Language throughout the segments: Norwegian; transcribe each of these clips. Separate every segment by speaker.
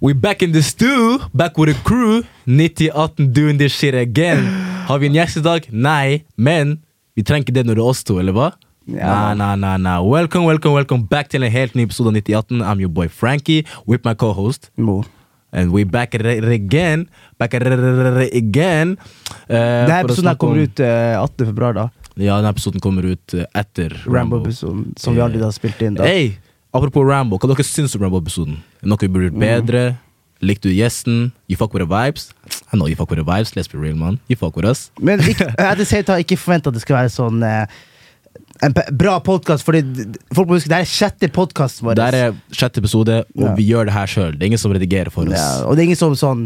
Speaker 1: We back in the stew, back with a crew. 9018 doing this shit again. Har vi en gjest i dag? Nei, men vi trenger ikke det når det er oss to, eller hva?
Speaker 2: Ja.
Speaker 1: Nei, nei, nei, nei. Welcome, welcome, welcome back til en helt ny episode av 9018. I'm your boy Frankie with my co-host.
Speaker 2: Mo.
Speaker 1: And we back at it again. Back at it again. Uh,
Speaker 2: Denne episoden her kommer ut eh, 18. februar, da.
Speaker 1: Ja, denne episoden kommer ut eh, etter
Speaker 2: Rambo-episoden som vi
Speaker 1: Eh,
Speaker 2: allerede har spilt inn. da
Speaker 1: Hey, apropos Rambo, hva dere syns om Rambo-episoden? Er Noe vi burde
Speaker 2: Mm.
Speaker 1: gjort bedre? Likte du gjesten? You fuck with the vibes? I know you fuck with the vibes, let's be real, man. You fuck with us.
Speaker 2: Men ikke, at the same time, ikke forvent at det skal være sånn eh, en p- bra podkast, for folk må huske det her er sjette podkasten vår.
Speaker 1: Det her er sjette episode, og
Speaker 2: Ja.
Speaker 1: vi gjør det her sjøl. Det er ingen som redigerer for oss.
Speaker 2: ja, og det er ingen som sånn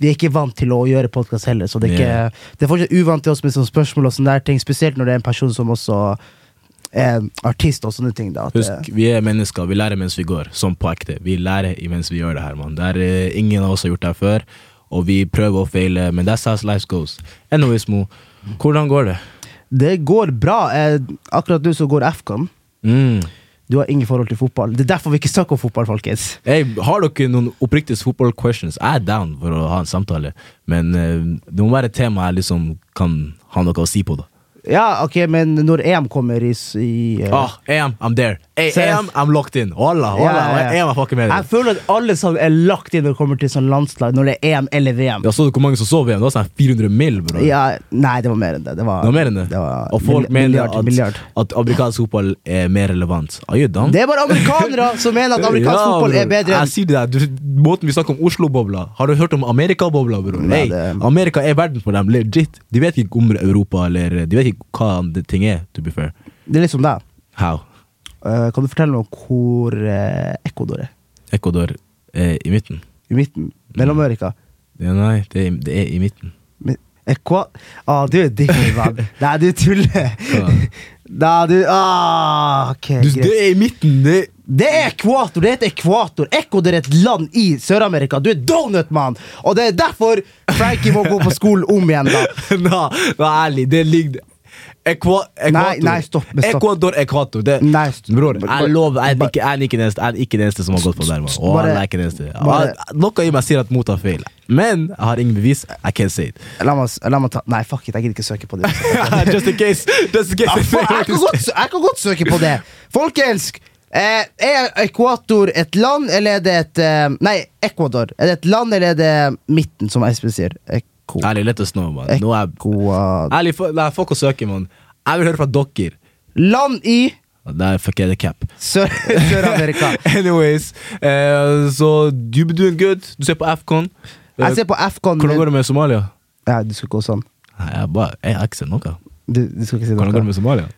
Speaker 2: vi er ikke vant til å gjøre podkast heller, så det er, ikke,
Speaker 1: Ja.
Speaker 2: det er fortsatt uvant til oss med sånne spørsmål og sånne der ting, spesielt når det er en person som også er artist og sånne ting. da at, eh,
Speaker 1: Husk, vi er mennesker. Vi lærer mens vi går, som på ekte. Vi lærer imens vi gjør det her, mann. Det er eh, ingen av oss har gjort det her før, og vi prøver og feiler, men that's how life goes. Anyways, Mo, hvordan går det?
Speaker 2: eh, Det går bra. Eh, akkurat nå så går FK-en.
Speaker 1: Mm.
Speaker 2: Du har ingen forhold til fotball. Det er derfor vi ikke snakker om fotball, folkens.
Speaker 1: Hey, har dere noen oppriktige fotball-questions? Jeg er down for å ha en samtale, men eh, det må være et tema jeg liksom kan ha noe å si på. da
Speaker 2: Ja, ok, men når EM kommer i, s- i eh,
Speaker 1: Ah, EM, I'm there! Hey,
Speaker 2: Seriøst?
Speaker 1: EM, I'm locked in! Walla, walla,
Speaker 2: Ja, ja, ja.
Speaker 1: EM er fucking med deg.
Speaker 2: Jeg føler at alle sammen er lagt inn når det kommer til sånn landslag, når det er EM eller VM.
Speaker 1: Jeg så du hvor mange som så VM? Det var sånn 400 mill. bro.
Speaker 2: Ja, nei, det var mer enn det. Det var,
Speaker 1: Det var mer enn det.
Speaker 2: var
Speaker 1: Og folk
Speaker 2: mil-
Speaker 1: mener
Speaker 2: milliard,
Speaker 1: at,
Speaker 2: milliard.
Speaker 1: at amerikansk fotball er mer relevant. Are you dumb?
Speaker 2: Det er bare amerikanere som mener at amerikansk
Speaker 1: Eh, Ja,
Speaker 2: fotball er
Speaker 1: bror.
Speaker 2: bedre
Speaker 1: Jeg
Speaker 2: enn
Speaker 1: sier det der, du, Måten vi snakker om Oslo-bobla Har du hørt om Amerika-bobla, bror? Hey,
Speaker 2: Nei, det-
Speaker 1: Amerika er verden for dem, legit. De vet ikke om Europa eller De vet ikke hva det ting er, to be fair.
Speaker 2: Det er liksom deg.
Speaker 1: How?
Speaker 2: Eh, kan du fortelle meg om hvor eh, Ecuador er?
Speaker 1: Ecuador er i midten.
Speaker 2: I midten?
Speaker 1: Mm.
Speaker 2: Mellom-Amerika?
Speaker 1: Ja, nei, det er, det er i midten.
Speaker 2: Men- Equa... Ah, du er dickhead, mann. Nei, du tuller.
Speaker 1: Hva?
Speaker 2: Nei, du ah, ok,
Speaker 1: Du,
Speaker 2: greit.
Speaker 1: det er i midten! Det
Speaker 2: Det er ekvator! Det heter ekvator. Ecuador er et land i Sør-Amerika. Du er donut, mann! Og det er derfor Frankie må gå på skolen om igjen, da.
Speaker 1: Nei, vær ærlig, det ligger Ekva
Speaker 2: Nei,
Speaker 1: ekvator.
Speaker 2: nei, stopp, men stopp.
Speaker 1: Ekvador, ekvator. Det,
Speaker 2: Nei, stopp.
Speaker 1: bror,
Speaker 2: Bare-
Speaker 1: jeg lover, jeg er ikke, jeg er ikke den eneste, jeg er ikke den eneste som har gått på der. mann. Og
Speaker 2: Bare-
Speaker 1: han er ikke den eneste.
Speaker 2: bare-
Speaker 1: Han- Noe i meg sier at mot har feil, men jeg har ingen bevis. I can't say it.
Speaker 2: La meg, la meg ta Nei, fuck it, jeg gidder ikke søke på det.
Speaker 1: just in case. Just in
Speaker 2: Ja,
Speaker 1: case.
Speaker 2: faen, jeg, kan godt, sø- jeg kan godt søke på det. Folkens, eh, er ekvator et land, eller er det et eh, Nei, Ecuador. Er det et land, eller er det midten, som Espen sier? Eko-
Speaker 1: Ærlig, let us know, man. Nå er jeg,
Speaker 2: Ecuador
Speaker 1: ærlig, fu- nei, fuck å søke, man. Jeg vil høre fra dere.
Speaker 2: Land i
Speaker 1: Der fuck jeg the cap.
Speaker 2: Sør- Sør-Amerika.
Speaker 1: Anyways, eh, så you be doing good. Du ser på Afcon. Eh,
Speaker 2: jeg ser på Afghan
Speaker 1: Hvordan går det med Somalia?
Speaker 2: Nei, du skal gå sånn.
Speaker 1: Nei, Jeg, bare, jeg har ikke sett noe.
Speaker 2: Du, du skal ikke si
Speaker 1: Hvordan går det
Speaker 2: noe.
Speaker 1: med Somalia?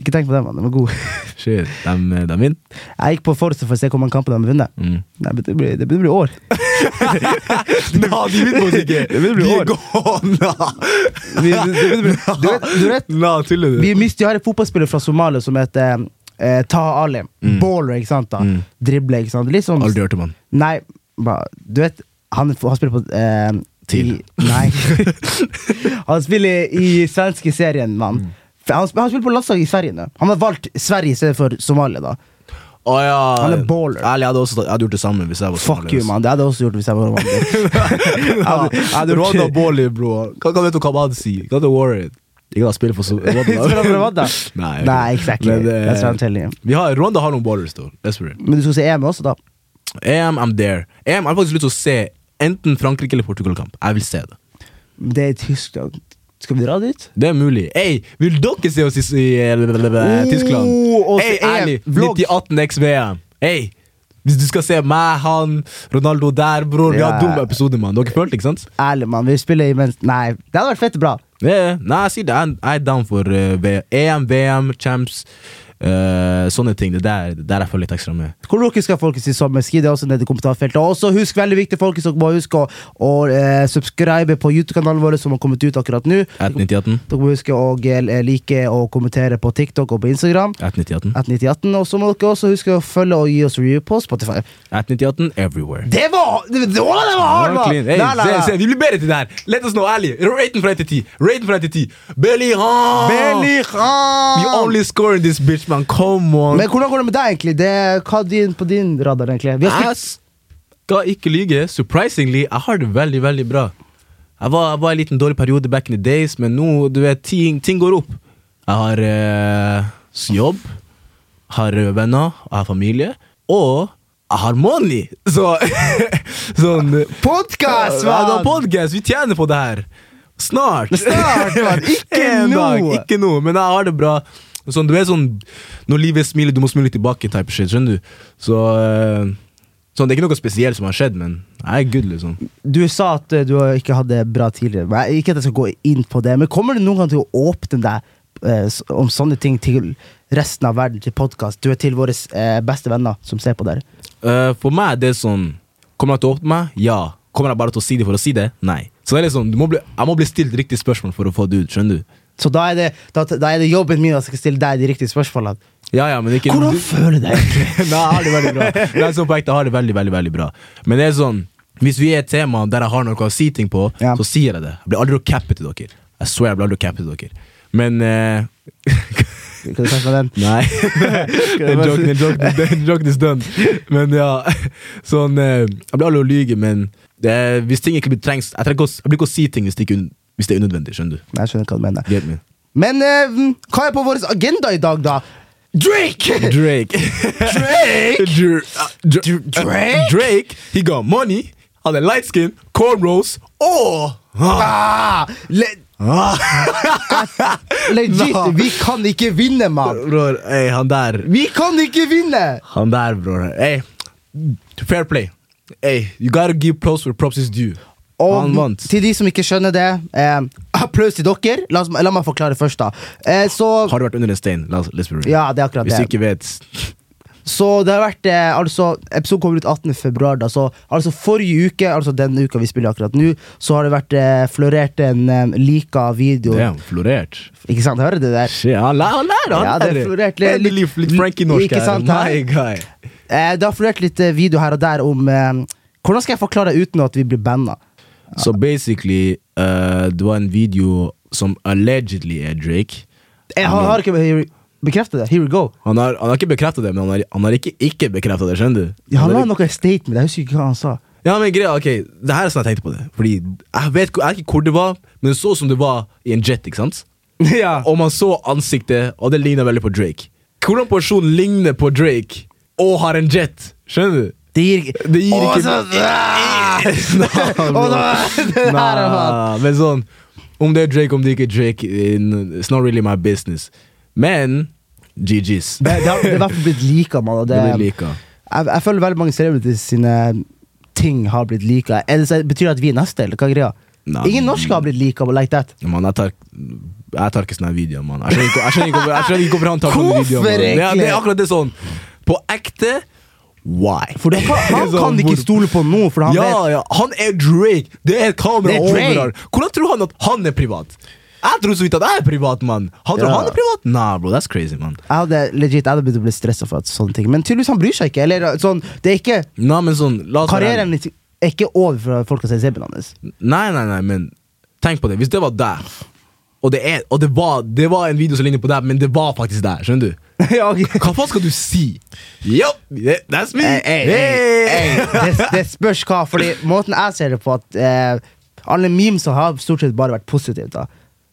Speaker 2: Ikke tenk på det, mann. Den var god.
Speaker 1: Shit, de, de vinner.
Speaker 2: Jeg gikk på Forza for å se hvor mange kamper de har vunnet.
Speaker 1: Mm.
Speaker 2: Nei, men det blir, det blir år.
Speaker 1: Nei, de vinner oss ikke!
Speaker 2: Det vil bli
Speaker 1: de
Speaker 2: år.
Speaker 1: er gående!
Speaker 2: Vi, det, det blir, du vet, du vet
Speaker 1: Nei, tuller du?
Speaker 2: vi mister, har en fotballspiller fra Somalia som heter eh, Taha Ali. Baller, ikke sant? da
Speaker 1: Mm.
Speaker 2: Dribler, ikke sant? Litt sånn
Speaker 1: Aldri hørt om han.
Speaker 2: Nei, ba, du vet Han har spilt på eh,
Speaker 1: TIL.
Speaker 2: i- Nei. han spiller i svenske serien, mann.
Speaker 1: Mm.
Speaker 2: Han, sp- han spiller på landslaget i Sverige nå. Han har valgt Sverige i stedet for Somalia, da.
Speaker 1: Å ja.
Speaker 2: Han er baller.
Speaker 1: Ærlig, jeg hadde, også, jeg hadde gjort det samme hvis jeg var
Speaker 2: Fuck you, mann. Det hadde jeg også gjort hvis jeg var romantisk.
Speaker 1: Ronda Baarli, bro. Hva, hva vet du hva man sier? Hva hadde Warren? Ikke da spille for Som-
Speaker 2: Spiller for Rwanda?
Speaker 1: Nei, jeg vet
Speaker 2: Nei,
Speaker 1: ikke.
Speaker 2: exactly.
Speaker 1: Men, eh,
Speaker 2: That's what I'm telling you.
Speaker 1: vi har, Rwanda har noen ballers, though. Let's be real.
Speaker 2: Men du skal se EM også, da?
Speaker 1: EM, I'm there. EM, jeg har faktisk lyst til å se enten Frankrike eller Portugal-kamp. Jeg vil se det.
Speaker 2: Det er i Tyskland. Skal vi dra dit?
Speaker 1: Det er mulig. Ey, vil dere se oss i, i eh, Tyskland?
Speaker 2: Oh, og så
Speaker 1: Ey,
Speaker 2: EM,
Speaker 1: ærlig!
Speaker 2: vlogg.
Speaker 1: 9018 XVM. Ey, hvis du skal se meg, han, Ronaldo der, bror Vi har
Speaker 2: Ja.
Speaker 1: dum episode, mann. Dere følte, ikke sant?
Speaker 2: Ærlig, mann. Vi spiller imens Nei, det hadde vært fett bra.
Speaker 1: Yeah, nei, jeg sier det. Jeg jeg er down for eh, V- EM, VM, champs. eh, sånne ting. Det der, det der jeg følger litt ekstra med.
Speaker 2: Hvor dere skal folkens i sommer, skriv det også ned i kommentarfeltet. Og også husk veldig viktig, folkens, dere må huske å, å eh, subscribe på YouTube-kanalen vår, som har kommet ut akkurat nå.
Speaker 1: 1918.
Speaker 2: Dere må huske å eh, like og kommentere på TikTok og på Instagram.
Speaker 1: 1918.
Speaker 2: 1918, Og så må dere også huske å følge og gi oss review på Spotify.
Speaker 1: 1918 everywhere.
Speaker 2: Det var Det, det, å, det var
Speaker 1: Ja,
Speaker 2: hard, mann!
Speaker 1: Ah, clean. Hey,
Speaker 2: Nei, nei, nei.
Speaker 1: Se, se, vi blir bedre til det her. Let oss know, ærlig. Raten fra 1 til 10. Raten fra 1 til 10. Bellingham!
Speaker 2: Bellingham!
Speaker 1: We only score in this bitch, man. Come on.
Speaker 2: Men hvordan går det med deg, egentlig? Det, hva er din, på din radar, egentlig? Vi har spilt,
Speaker 1: Ass. skal ikke lyge. Surprisingly, jeg har det veldig, veldig bra. Jeg var, jeg var i en liten dårlig periode back in the days, men nå du vet, ting, ting går opp. Jeg har eh, s- jobb, har venner, jeg har familie, og jeg har money! Så sånn
Speaker 2: Podkast,
Speaker 1: Ja, det er
Speaker 2: mann!
Speaker 1: podcast, vi tjener på det her. Snart.
Speaker 2: Snart, mann. Ikke
Speaker 1: En dag,
Speaker 2: nå.
Speaker 1: Ikke nå, men jeg har det bra. Sånn, du er sånn Når livet smiler, du må smile tilbake. Type shit, skjønner du? Så eh, sånn, Det er ikke noe spesielt som har skjedd, men jeg er good, liksom.
Speaker 2: Du sa at eh, du ikke hadde det bra tidligere. Men jeg- ikke at jeg skal gå inn på det, men kommer du noen gang til å åpne deg eh, s- om sånne ting til resten av verden, til podkast? Du er til våre eh, beste venner som ser på der.
Speaker 1: Eh, for meg er det sånn Kommer jeg til å åpne meg? Ja. Kommer jeg bare til å si det for å si det? Nei. Så det er liksom, du må bli, Jeg må bli stilt riktig spørsmål for å få det ut, skjønner du?
Speaker 2: Så da er det, da, da er det jobben min at jeg skal stille deg de riktige spørsmålene.
Speaker 1: Ja, ja, men ikke
Speaker 2: Hvordan
Speaker 1: du-
Speaker 2: føler du deg? egentlig?
Speaker 1: Nei, jeg har det veldig bra. Nei, sånn på ekte, jeg har det veldig, veldig, veldig bra. Men det er sånn, hvis vi er et tema der jeg har noe å si ting på,
Speaker 2: Ja.
Speaker 1: så sier jeg det. Jeg blir aldri å cappe til dere. Jeg swear jeg blir aldri å cappe til dere. Men eh,
Speaker 2: Kan du passe med den?
Speaker 1: Nei. den joken den joken- den joken is done. Men ja, sånn eh, Jeg blir aldri å lyge, men det, er- hvis ting ikke blir trengs Jeg, trenger ikke å, s- jeg blir ikke å si ting hvis det, ikke, un- hvis det er unødvendig. Skjønner du?
Speaker 2: Nei, Jeg skjønner hva du mener.
Speaker 1: Get me?
Speaker 2: Men eh, hva er på vår agenda i dag, da? Drake!
Speaker 1: Drake.
Speaker 2: Drake!
Speaker 1: Dr uh, Dr
Speaker 2: Dr- Drake?
Speaker 1: uh, Drake, he got money, had a light skin, cornrows, og
Speaker 2: Ah, le
Speaker 1: Ah,
Speaker 2: legit,
Speaker 1: Nå.
Speaker 2: vi kan ikke vinne, mann!
Speaker 1: Bror, ey, han der.
Speaker 2: Vi kan ikke vinne!
Speaker 1: Han der, bror. Ey, fair play. Ey, you gotta give props where props is due. han
Speaker 2: Og
Speaker 1: vant.
Speaker 2: til de som ikke skjønner det, eh, applaus til dere. La, oss, la meg forklare først, da. Eh, så,
Speaker 1: Har du vært under en stein? La oss, let's be real.
Speaker 2: ja, det er akkurat
Speaker 1: Hvis du
Speaker 2: det.
Speaker 1: ikke vet
Speaker 2: Så det har vært eh, altså, Episoden kommer ut 18. februar da, så, altså Forrige uke, altså denne uka vi spiller akkurat nå, så har det vært eh, florert en eh, lika video.
Speaker 1: Damn, florert.
Speaker 2: Ikke sant? Hører du det der?
Speaker 1: Shit, han lærer, han lærer! Han
Speaker 2: Ja, det er
Speaker 1: lærer.
Speaker 2: florert litt-
Speaker 1: Endelig litt, litt Frankie-norsk
Speaker 2: Ikke
Speaker 1: her.
Speaker 2: sant, han?
Speaker 1: My guy.
Speaker 2: Eh, det har florert litt eh, video her og der om eh, Hvordan skal jeg forklare uten at vi blir banna?
Speaker 1: Så basically, eh, det var en video som allegedly er Drake.
Speaker 2: Jeg har, har ikke bekreftet det. Here we go.
Speaker 1: Han har, han har ikke bekreftet det, men han har, han har ikke ikke bekreftet det, skjønner du?
Speaker 2: Ja, han la
Speaker 1: har ikke-
Speaker 2: noe statement. Jeg husker ikke hva han sa.
Speaker 1: ja, men greia, ok, det her er sånn jeg tenkte på det. Fordi jeg vet hvor- jeg vet ikke hvor det var, men det så som det var i en jet, ikke sant?
Speaker 2: ja.
Speaker 1: Og man så ansiktet, og det ligner veldig på Drake. Hvordan personen ligner på Drake og har en jet, skjønner du?
Speaker 2: Det gir ikke
Speaker 1: Det gir
Speaker 2: Å,
Speaker 1: ikke
Speaker 2: så- Ah!
Speaker 1: Nei,
Speaker 2: Å,
Speaker 1: bro.
Speaker 2: da- det her er
Speaker 1: Nei, Men sånn, om det er Drake, om det ikke er Drake, eh, n- it's not really my business. Men GG's.
Speaker 2: Det, det, har, det er i hvert fall blitt lika, mann. og
Speaker 1: Det blir
Speaker 2: det-
Speaker 1: lika.
Speaker 2: Jeg, jeg føler veldig mange celebrities sine ting har blitt lika. Eller så betyr det at vi er neste, eller hva er greia?
Speaker 1: Nei.
Speaker 2: Ingen norske har blitt lika like that.
Speaker 1: Ja, Man, jeg tar, jeg tar ikke sånne her videoer, mann. Jeg skjønner ikke- jeg skjønner ikke hvorfor- jeg skjønner ikke hvorfor han tar sånne
Speaker 2: Hvorfor
Speaker 1: videoer. mann. Det, er- det er
Speaker 2: egentlig?
Speaker 1: akkurat det sånn. På ekte, why?
Speaker 2: For han, kan- han
Speaker 1: Sånn,
Speaker 2: kan de ikke
Speaker 1: hvor-
Speaker 2: stole på nå, for han
Speaker 1: ja, ja, han er Drake! Det er et kamera
Speaker 2: Det er Drake.
Speaker 1: overalt. Hvordan tror han at han er privat? Jeg tror så vidt at jeg er privat, mann. Han tror
Speaker 2: Ja.
Speaker 1: han er privat? Nah, bro, that's crazy, mann.
Speaker 2: vet Jeg hadde legit, jeg hadde begynt å bli stressa for at sånne ting. Men tydeligvis han bryr seg ikke. Eller sånn, det er ikke
Speaker 1: Nei, men sånn, la oss være
Speaker 2: Karrieren litt- er ikke over for folk som ser CB-en hans.
Speaker 1: Nei, nei, nei, men tenk på det. Hvis det var der, og det, er, og det, var, det var en video som ligner på der, men det var faktisk der, skjønner du?
Speaker 2: ja, ok.
Speaker 1: Hva faen skal du si? Yup, yeah, that's me!
Speaker 2: Ei, ei, ei, ei. Det, det spørs hva, fordi måten jeg ser det på at eh, alle memes har stort sett bare vært positivt da.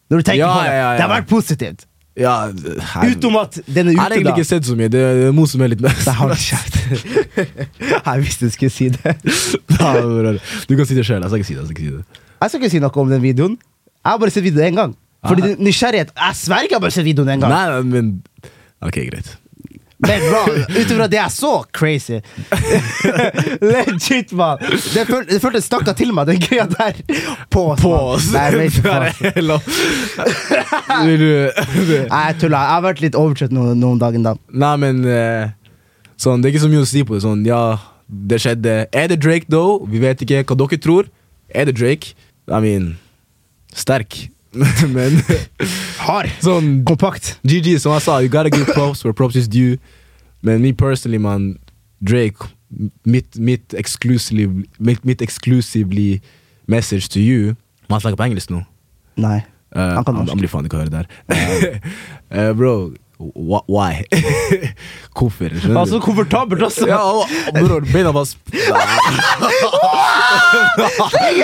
Speaker 2: Når du tenker
Speaker 1: Ja,
Speaker 2: på det,
Speaker 1: ja, ja, ja.
Speaker 2: det har vært positivt.
Speaker 1: Ja, her,
Speaker 2: Utom at den
Speaker 1: Jeg
Speaker 2: er
Speaker 1: har
Speaker 2: ute
Speaker 1: egentlig
Speaker 2: da.
Speaker 1: ikke sett så mye. Det det er Mo som er litt mest.
Speaker 2: Det har du kjeft. jeg visste du skulle si det.
Speaker 1: Ja, bror. Du kan si det sjøl. Jeg skal ikke si det. altså. Jeg skal ikke si det.
Speaker 2: Jeg skal ikke si noe om den videoen. Jeg har bare sett videoen én gang. Fordi
Speaker 1: Aha.
Speaker 2: den- nysgjerrighet Jeg sverger jeg har bare sett videoen én gang.
Speaker 1: Nei, nei, men Ok, greit.
Speaker 2: Men bra, ut ifra det jeg så, crazy. Legit, mann. Det, føl det føltes stakka til meg, den greia der. På oss. mann.
Speaker 1: Pause!
Speaker 2: Nei, men ikke på
Speaker 1: Der
Speaker 2: oss.
Speaker 1: er hele- Vil du-
Speaker 2: Nei, jeg tuller. Jeg har vært litt overtrøtt noen, noen dager. da
Speaker 1: Nei, men eh, sånn, Det er ikke så mye å si på det. Sånn, ja, det skjedde. Er det Drake, though? Vi vet ikke hva dere tror. Er det Drake? I mean Sterk. men
Speaker 2: Hard.
Speaker 1: sånn
Speaker 2: Kompakt.
Speaker 1: GG, som jeg sa, you gotta give props where props is due. Men me personally, man, Drake, m- mitt, mitt, exclusively, mitt, mitt exclusively message to you Man snakker på engelsk nå.
Speaker 2: Nei.
Speaker 1: Eh,
Speaker 2: Han kan
Speaker 1: han,
Speaker 2: norsk.
Speaker 1: han blir faen ikke å høre det her. Eh, bro, wh- Why? Hvorfor? Skjønner du?
Speaker 2: Altså, komfortabelt også!
Speaker 1: ja, og, og bror, beina bare sp-
Speaker 2: Jeg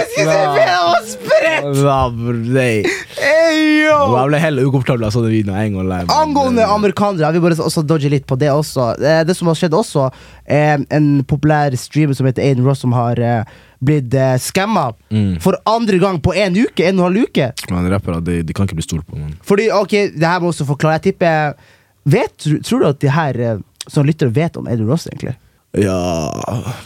Speaker 2: skulle si
Speaker 1: Ja.
Speaker 2: beina var spredt!
Speaker 1: Ja, bror, nei.
Speaker 2: Ey, yo!
Speaker 1: Og Jeg ble heller ukomfortabel av sånne videoer en gang. lei meg.
Speaker 2: Angående amerikanere, jeg vil bare også dodge litt på det også. Eh, Det som har skjedd også, eh, en populær streamer som heter Aiden Ross, som har eh, blitt eh, skamma
Speaker 1: Mm.
Speaker 2: for andre gang på en uke. En og en halv uke.
Speaker 1: Men rappere, de, de kan ikke bli stolt på. Man.
Speaker 2: Fordi, ok, det her må jeg også forklare. Jeg tipper vet, tr- Tror du at de her eh, som lytter, vet om Aiden Ross, egentlig?
Speaker 1: Ja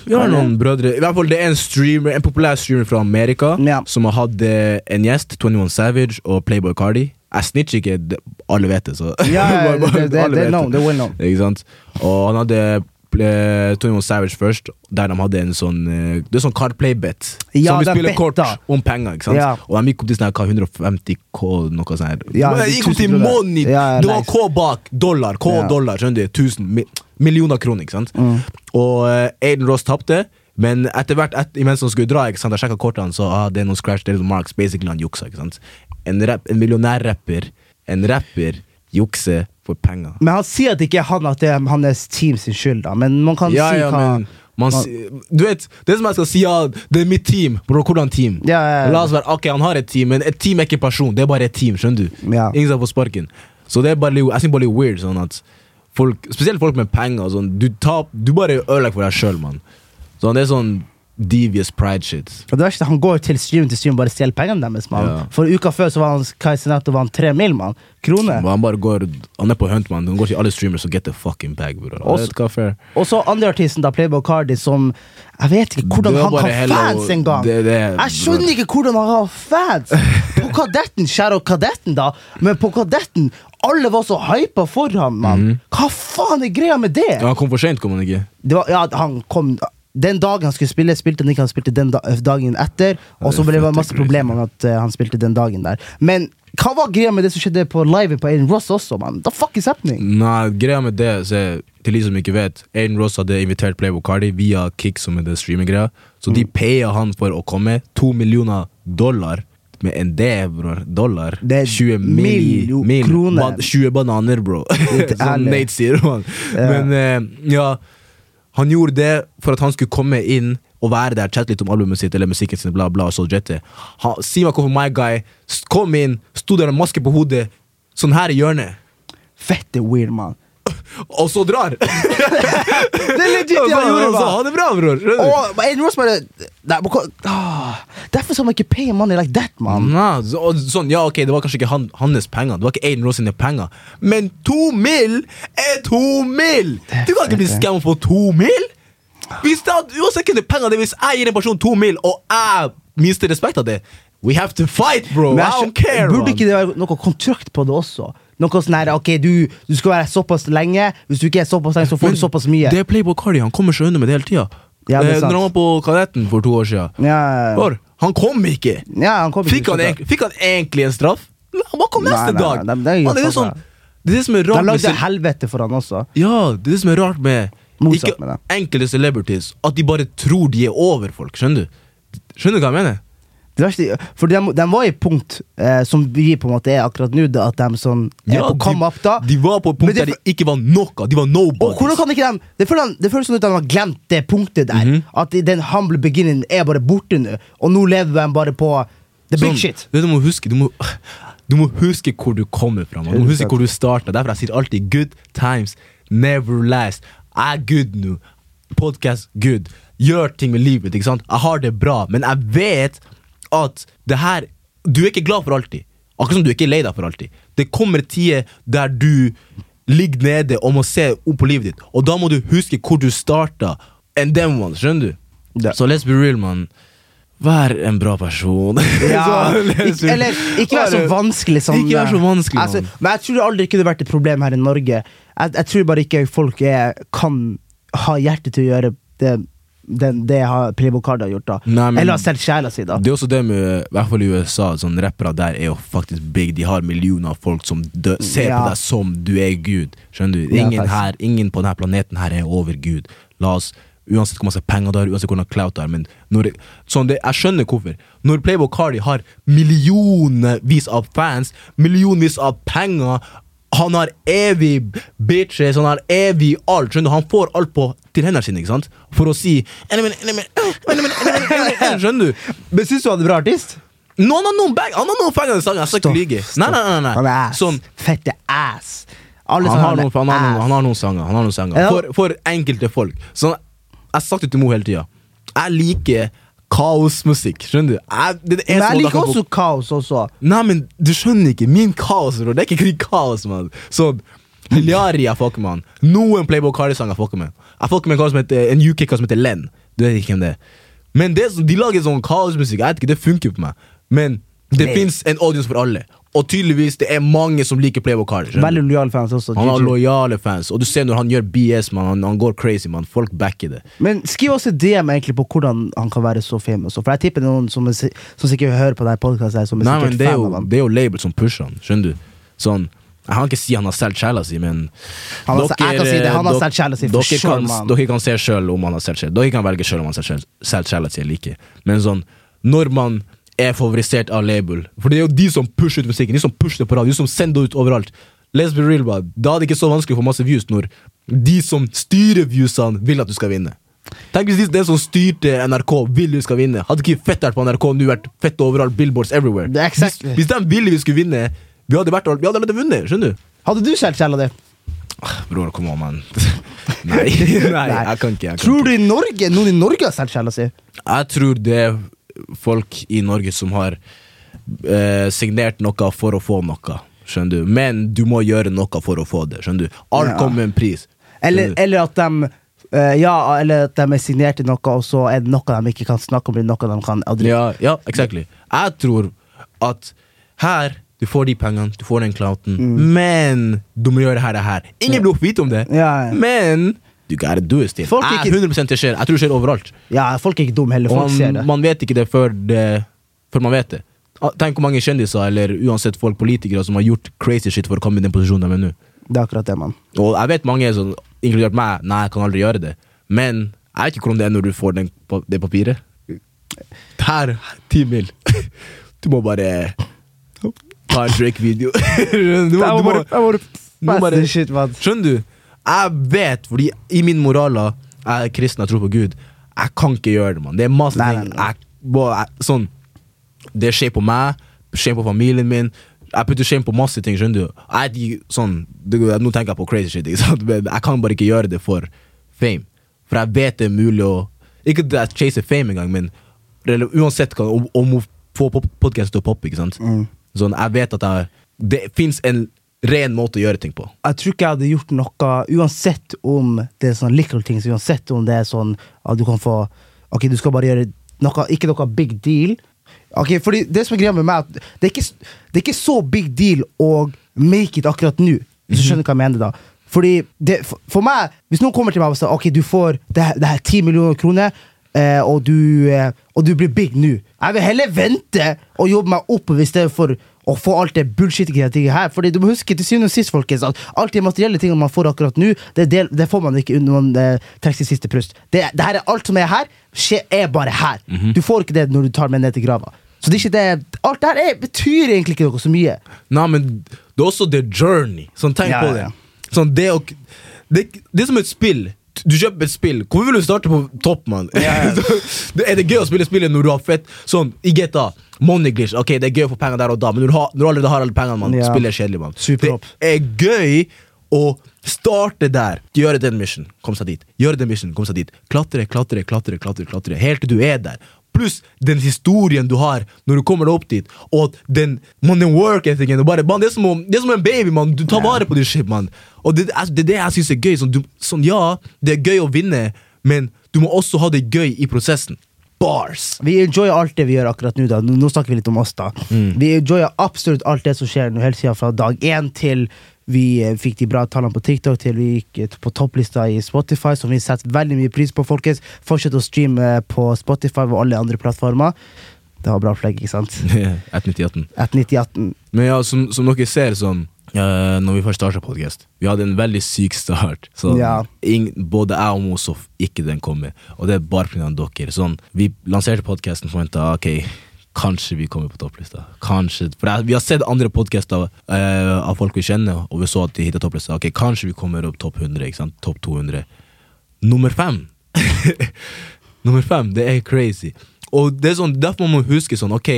Speaker 1: Vi har noen brødre I hvert fall det er en streamer En populær streamer fra Amerika
Speaker 2: Ja.
Speaker 1: som har hatt eh, en gjest, 21 Savage og Playboy Cardi. Jeg snitcher ikke, d- alle vet det, så
Speaker 2: Ja, ja,
Speaker 1: Bare- bare-
Speaker 2: det- det-
Speaker 1: alle
Speaker 2: det
Speaker 1: vet
Speaker 2: er known, det er well known.
Speaker 1: Ikke sant? Og han hadde eh, 21 Savage først, der de hadde en sånn eh, Det er sånn card play bet.
Speaker 2: Ja,
Speaker 1: som vi
Speaker 2: det er
Speaker 1: spiller
Speaker 2: bet,
Speaker 1: kort
Speaker 2: da.
Speaker 1: om penger, ikke sant?
Speaker 2: Ja.
Speaker 1: Og de gikk opp til sånn her, hva, 150 K, noe sånt. her
Speaker 2: Ja,
Speaker 1: Men jeg Gikk opp
Speaker 2: 1000
Speaker 1: til
Speaker 2: dollar.
Speaker 1: money!
Speaker 2: Ja, ja,
Speaker 1: det var
Speaker 2: nice.
Speaker 1: K bak dollar, K
Speaker 2: Ja.
Speaker 1: dollar, skjønner du? 1000 mi millioner kroner, ikke sant? Og eh, Aiden Ross tapte, men etter hvert et, imens han skulle dra, ikke sant, jeg sjekket kortene, så ah, det er noen scratch, det er noen marks, basically han juksa, ikke sant? En, rap, en millionærrapper, en rapper jukser for penger.
Speaker 2: Men han sier at det ikke er han, at det er hans team sin skyld, da. Men man kan
Speaker 1: Ja,
Speaker 2: si
Speaker 1: ja,
Speaker 2: hva
Speaker 1: men man, si- du vet, det er som jeg skal si, ja, det er mitt team. Bro, hvordan team?
Speaker 2: Ja, ja, ja.
Speaker 1: La oss være, ok, Han har et team, men et team er ikke en person. Det er bare et team, skjønner du?
Speaker 2: Ja.
Speaker 1: Ingen skal få sparken. Så det er bare litt, jeg synes bare litt weird sånn at folk, Spesielt folk med penger. og Sånn, du, tap, du bare ødelegger for deg sjøl, mann. Sånn, det er sånn devious pride shit.
Speaker 2: Og det verste, Han går til stream til stream og bare stjeler pengene deres. Man.
Speaker 1: Ja.
Speaker 2: For uka før så var han Kaisenato vant tre mil, mann. Kroner.
Speaker 1: Men Han bare går, han er på hunt, mann. Han går til alle streamers og get the fucking bag, bro. Jeg
Speaker 2: Også-
Speaker 1: vet hva, fair.
Speaker 2: Og så andre artisten, da, Playboy Cardi, som Jeg vet ikke hvordan
Speaker 1: Det var
Speaker 2: han
Speaker 1: bare
Speaker 2: kan
Speaker 1: heller å-
Speaker 2: fans engang!
Speaker 1: det- det-
Speaker 2: Jeg skjønner ikke hvordan han har fans! På Kadetten, Shadow Kadetten, da, men på Kadetten Alle var så hypa for ham, mann!
Speaker 1: Mhm.
Speaker 2: Hva faen er greia med det?
Speaker 1: Ja, Han kom for seint, kom han ikke?
Speaker 2: det var, ja, han kom den dagen han skulle spille, spilte han ikke. Han spilte den da eh, dagen etter. Og så ble det masse problemer med at eh, han spilte den dagen der. Men hva var greia med det som skjedde på liven på Aiden Ross også, mann? The fuck is happening?
Speaker 1: Nei, greia med det så, er- Til de som ikke vet Aiden Ross hadde invitert Playboy Cardi via Kick som er det streaminggreia Så
Speaker 2: Mm.
Speaker 1: de paya han for å komme To millioner dollar Med en D, bror, dollar
Speaker 2: Det er
Speaker 1: 20 milli-
Speaker 2: millio-
Speaker 1: mil,
Speaker 2: kroner.
Speaker 1: ba- 20 bananer, bro Sånn Som
Speaker 2: ærlig.
Speaker 1: Nate sier, man Men eh, ja Han gjorde det for at han skulle komme inn og være der, chatte litt om albumet sitt eller musikken sin, bla, bla, og så jette. Han- Si meg hvorfor my guy s- kom inn, sto der med maske på hodet, sånn her i hjørnet.
Speaker 2: Fette weird, mann.
Speaker 1: Og så drar!
Speaker 2: Det er legit det han gjorde,
Speaker 1: altså,
Speaker 2: mann!
Speaker 1: ha det bra, bror. Skjønner du?
Speaker 2: Og Aiden Ross bare Nei, men hva- ah, Derfor skal man ikke pay money like that, mann.
Speaker 1: Nei, så, og sånn, ja, ok, Det var kanskje ikke han, hans penger, det var ikke Aiden Ross sine penger, men to mil er to mil!
Speaker 2: Det er
Speaker 1: Du kan ikke bli
Speaker 2: fett, det.
Speaker 1: skammet for to mil! Hvis det, hadde- uansett hvem det er penger det er, hvis jeg gir en person to mil, og jeg mister respekt av det We have to fight, bro!
Speaker 2: Men
Speaker 1: I
Speaker 2: jeg
Speaker 1: don't care,
Speaker 2: skjø- burde
Speaker 1: man.
Speaker 2: ikke det være noe kontrakt på det også? Noe sånn her, ok, du, du skal være såpass lenge. Hvis du ikke er såpass lenge, så får
Speaker 1: Men
Speaker 2: du såpass mye.
Speaker 1: Det er Playboy Cardi, han kommer seg unna med det hele tida.
Speaker 2: Ja, det er
Speaker 1: Eh,
Speaker 2: sant.
Speaker 1: Når han var på Kadetten for to år siden,
Speaker 2: Ja.
Speaker 1: Bror, han kom ikke!
Speaker 2: Ja, han kom ikke
Speaker 1: Fikk han,
Speaker 2: til å
Speaker 1: egentlig, fikk han egentlig en straff? Nei, Han bare kom
Speaker 2: Nei,
Speaker 1: neste
Speaker 2: nei,
Speaker 1: dag!
Speaker 2: nei, det er jo
Speaker 1: Man, det, er
Speaker 2: sånn,
Speaker 1: sånn, det er det som er
Speaker 2: De
Speaker 1: rart med,
Speaker 2: lagde
Speaker 1: cel-
Speaker 2: helvete for han også.
Speaker 1: ja, det er det som er rart med
Speaker 2: Motsatt
Speaker 1: ikke
Speaker 2: med det.
Speaker 1: enkelte celebrities. At de bare tror de er over folk. Skjønner du Skjønner du hva jeg mener?
Speaker 2: Det verste, for de, de var i punkt eh, som vi på en måte er akkurat nå, da, at de som er på come up da
Speaker 1: de var på et
Speaker 2: Men
Speaker 1: punkt
Speaker 2: det-
Speaker 1: der de ikke var noe. De var
Speaker 2: og hvordan
Speaker 1: nobodies.
Speaker 2: kan ikke de, det, føles, det føles som at de har glemt det punktet der.
Speaker 1: Mhm.
Speaker 2: At i den humble beginningen er bare borte nå, og nå lever de bare på the big
Speaker 1: Sånn,
Speaker 2: shit.
Speaker 1: det du, må huske, du, må, du må huske hvor du kommer fra. Man. Du må huske
Speaker 2: 100%.
Speaker 1: hvor du starta. Derfor jeg sier alltid 'good times never last'. Jeg er good nå. Podcast good. Gjør ting med livet. ikke sant? Jeg har det bra, men jeg vet at det her Du er ikke glad for alltid. Akkurat som du er ikke lei deg for alltid. Det kommer tider der du ligger nede og må se opp på livet ditt, og da må du huske hvor du starta. And then one, skjønner du?
Speaker 2: Ja.
Speaker 1: Så let's be real, mann. Vær en bra person.
Speaker 2: Ja,
Speaker 1: Så leser
Speaker 2: ikke,
Speaker 1: vi-
Speaker 2: eller ikke være så
Speaker 1: Bare-
Speaker 2: vanskelig som
Speaker 1: Ikke vær så vanskelig,
Speaker 2: altså,
Speaker 1: mann.
Speaker 2: Men jeg tror det aldri kunne vært et problem her i Norge. Jeg, jeg tror bare ikke folk er, kan ha hjerte til å gjøre det, den, det har Playboy Cardi har gjort. da
Speaker 1: Nei, men-
Speaker 2: Eller har solgt sjela si, da.
Speaker 1: Det er også det med i hvert fall i USA, sånn rappere der er jo faktisk big. De har millioner av folk som dø, ser
Speaker 2: Ja.
Speaker 1: på deg som du er Gud. Skjønner du?
Speaker 2: Ja,
Speaker 1: Ingen,
Speaker 2: faktisk.
Speaker 1: her, ingen på denne planeten her er over Gud. La oss, Uansett hvor masse penger du har, uansett hvordan clout du har. Men når, det- sånn det, jeg skjønner hvorfor. Når Playboy Cardi har millionvis av fans, millionvis av penger Han har evig bitches, han har evig alt. skjønner du? Han får alt på til hendene sine ikke sant? for å si «Nei, men, nei, men, øh, nei, men, nei, men, nei, men», Skjønner du?
Speaker 2: Men syns du han er bra artist?
Speaker 1: Nå han har noen bag, han har noen fengende sanger. Jeg skal ikke lyve. Nei, nei, nei,
Speaker 2: Han er
Speaker 1: nei.
Speaker 2: ass.
Speaker 1: Sånn,
Speaker 2: Fette ass. Alle
Speaker 1: han, har
Speaker 2: sammen
Speaker 1: noen, han, har noen,
Speaker 2: ass.
Speaker 1: han har noen sanger. Han har noen sanger.
Speaker 2: Ja.
Speaker 1: For, for enkelte folk. Så jeg har sagt det til Mo hele tida. Jeg liker kaosmusikk. Skjønner du? Jeg, det er det
Speaker 2: Men
Speaker 1: eneste
Speaker 2: jeg
Speaker 1: måten
Speaker 2: liker
Speaker 1: kan få-
Speaker 2: også kaos også.
Speaker 1: Nei, men du skjønner ikke. Min kaos, bro. Det er ikke krig kaos, mann. Sånn Liliari jeg fucker med han. Noen Playboy Cardi-sanger jeg fucker med. Jeg fucker med en, kar som heter, en UK kar som heter Len. Du vet ikke hvem det er. Men det, som- de lager sånn kaosmusikk. Jeg vet ikke, det funker på meg. Men det
Speaker 2: Len.
Speaker 1: fins en audience for alle. Og tydeligvis det er mange som liker Playboy Cardi. skjønner du?
Speaker 2: Veldig lojale fans også.
Speaker 1: Han har
Speaker 2: GG.
Speaker 1: lojale fans, og du ser når han gjør BS, man. Han, han går crazy, man. Folk backer det.
Speaker 2: Men skriv også DM egentlig på hvordan han kan være så famous. For jeg tipper det er noen som, er, si- som sikkert hører på denne podkasten, som er
Speaker 1: Nei, men
Speaker 2: sikkert
Speaker 1: det er,
Speaker 2: fan av
Speaker 1: jo,
Speaker 2: han.
Speaker 1: det er jo label som pusher han, skjønner du? Sånn, jeg kan ikke si han har solgt sjela si, men
Speaker 2: Han har- jeg kan si det, han har solgt sjela si for
Speaker 1: dere,
Speaker 2: sure,
Speaker 1: kan,
Speaker 2: mann.
Speaker 1: dere kan se sjøl om han har solgt sjela. Dere kan velge sjøl om han har solgt sjel- solgt sjela si eller ikke. Men sånn, når man er favorisert av label For det er jo de som pusher ut musikken, de som pusher det på radio, de som sender det ut overalt. Let's be real, bro. Da er det ikke så vanskelig å få masse views når de som styrer viewsene, vil at du skal vinne. Tenk hvis de, den som styrte NRK, vil du skal vinne. Hadde ikke fett vært på NRK nå, vært fett overalt, billboards everywhere.
Speaker 2: Det er exakt-
Speaker 1: Hvis, hvis de ville vi skulle vinne, vi hadde, vært, vi hadde allerede vunnet. Skjønner du?
Speaker 2: Hadde du solgt sjela di?
Speaker 1: Ah, Bror, kom an, mann. Nei, nei, jeg kan ikke. Jeg, kan
Speaker 2: Tror
Speaker 1: ikke.
Speaker 2: du i Norge, noen i Norge har solgt sjela si?
Speaker 1: jeg tror det er folk i Norge som har eh, signert noe for å få noe. Skjønner du? Men du må gjøre noe for å få det. Skjønner du? Alt
Speaker 2: Ja.
Speaker 1: kommer med en pris. Skjønner
Speaker 2: Eller,
Speaker 1: du?
Speaker 2: eller at de eh, ja, eller at de er signert i noe, og så er det noe de ikke kan snakke om. eller noe de kan adri-
Speaker 1: Ja, ja, exactly. Jeg tror at her du får de pengene, du får den clouten,
Speaker 2: Mm.
Speaker 1: men du må gjøre det her, det her. Ingen blir å vite om det,
Speaker 2: Ja, ja.
Speaker 1: men du gotta do it still.
Speaker 2: Folk er
Speaker 1: Jeg
Speaker 2: ikke-
Speaker 1: er 100 det skjer. Jeg tror det skjer overalt.
Speaker 2: ja, folk er ikke dumme heller.
Speaker 1: Og
Speaker 2: Folk ser
Speaker 1: man,
Speaker 2: det.
Speaker 1: man vet ikke det før, det før man vet det. Ah, Tenk hvor mange kjendiser eller uansett folk politikere som har gjort crazy shit for å komme i den posisjonen de er nå.
Speaker 2: Det er akkurat det, mann.
Speaker 1: Og jeg vet mange, som, inkludert meg, nei, jeg kan aldri gjøre det. Men jeg vet ikke hvordan det er når du får den, pa- det papiret. Her, ti mil. Du må bare ta en Drake-video. Du må- du må- du må bare-
Speaker 2: shit, mann.
Speaker 1: Skjønner du? Jeg vet, fordi i min moraler Jeg er kristen, jeg tror på Gud. Jeg kan ikke gjøre det, mann. Det er masse
Speaker 2: Nei,
Speaker 1: ting.
Speaker 2: nei, nei.
Speaker 1: Jeg, bare- jeg, sånn det skjer på meg, skjer på familien min. Jeg putter shame på masse ting, skjønner du. Jeg, er ikke sånn, det, nå tenker jeg på crazy shit, ikke sant? men jeg kan bare ikke gjøre det for fame. For jeg vet det er mulig å Ikke at jeg chaser fame engang, men rele- uansett hva- om, om å få podkasten til å poppe. ikke sant?
Speaker 2: Mm.
Speaker 1: Sånn, jeg vet at jeg, det fins en ren måte å gjøre ting på.
Speaker 2: jeg tror ikke jeg hadde gjort noe Uansett om det er sånn little things Uansett om det er sånn at du kan få Ok, du skal bare gjøre noe Ikke noe big deal Ok, fordi det som er greia med meg er at det er, ikke, s- det er ikke så big deal å make it akkurat nå Hvis du skjønner hva jeg mener da Fordi det, for, for meg Hvis noen kommer til meg og sier Ok, du får det, her- det her 10 millioner kroner eh, og, du, eh, og du blir big nå Jeg vil heller vente og jobbe meg oppover I stedet for å få alt det bullshit-greiet her. Fordi du må huske til syvende og sist, folkens, at alt de materielle tingene man får akkurat nå, det, er del, det får man ikke når man eh, trekker sitt siste pust. Det, det her er alt som er her, skje, er bare her. Du får ikke det når du tar med ned til grava. Så det er ikke det Alt det her er, betyr egentlig ikke noe så mye.
Speaker 1: Nei, men det er også the journey. Sånn, tenk
Speaker 2: Ja,
Speaker 1: på
Speaker 2: ja,
Speaker 1: det. Sånn, det, å, det. Det er som et spill. Du kjøper et spill. Hvorfor vil du starte på topp, mann? Så, det- er det gøy å spille spillet når du har fett Sånn, i GTA, money glitch. Ok, det er gøy å få penger der og da, men når du, har, når du allerede har alle pengene, mann,
Speaker 2: Ja.
Speaker 1: spillet er kjedelig, mann.
Speaker 2: Superhopp.
Speaker 1: Det er gøy å starte der. Gjøre den mission, kom seg dit. Gjøre den mission, kom seg dit. Klatre, klatre, klatre, klatre, klatre. helt til du er der. Pluss den historien du har når du kommer deg opp dit, og den, man, den work ethicen. og Bare, man, det, er som om, det er som en baby, mann. Du tar vare på ditt shit, mann. Og det, er- det er det jeg syns er gøy. Sånn, du, sånn, ja, det er gøy å vinne, men du må også ha det gøy i prosessen. Bars!
Speaker 2: Vi enjoyer alt det vi gjør akkurat nå. da Nå nå snakker vi litt om oss, da.
Speaker 1: Mm.
Speaker 2: Vi enjoyer absolutt alt det som skjer nå, helt siden fra dag én til vi eh, fikk de bra tallene på TikTok, til vi gikk eh, på topplista i Spotify, som vi setter veldig mye pris på, folkens. Fortsett å streame eh, på Spotify og alle andre plattformer. Det var bra flagg, ikke sant?
Speaker 1: Mm. 198.
Speaker 2: Et 9018.
Speaker 1: Men ja, som, som dere ser sånn eh, Når vi først startet podcast Vi hadde en veldig syk start sånn,
Speaker 2: Ja.
Speaker 1: ing- Både jeg og Mosof ikke den kommer Og det er bare på grunn av dere sånn, Vi lanserte podcasten og forventet Ok, Kanskje vi kommer på topplista. Kanskje, for jeg, Vi har sett andre podkaster eh, av folk vi kjenner, og vi så at de hittet topplista. Ok, Kanskje vi kommer opp topp 100. ikke sant? Topp 200. Nummer fem! Nummer fem, det er crazy. Og det er sånn, Derfor må man huske sånn, ok,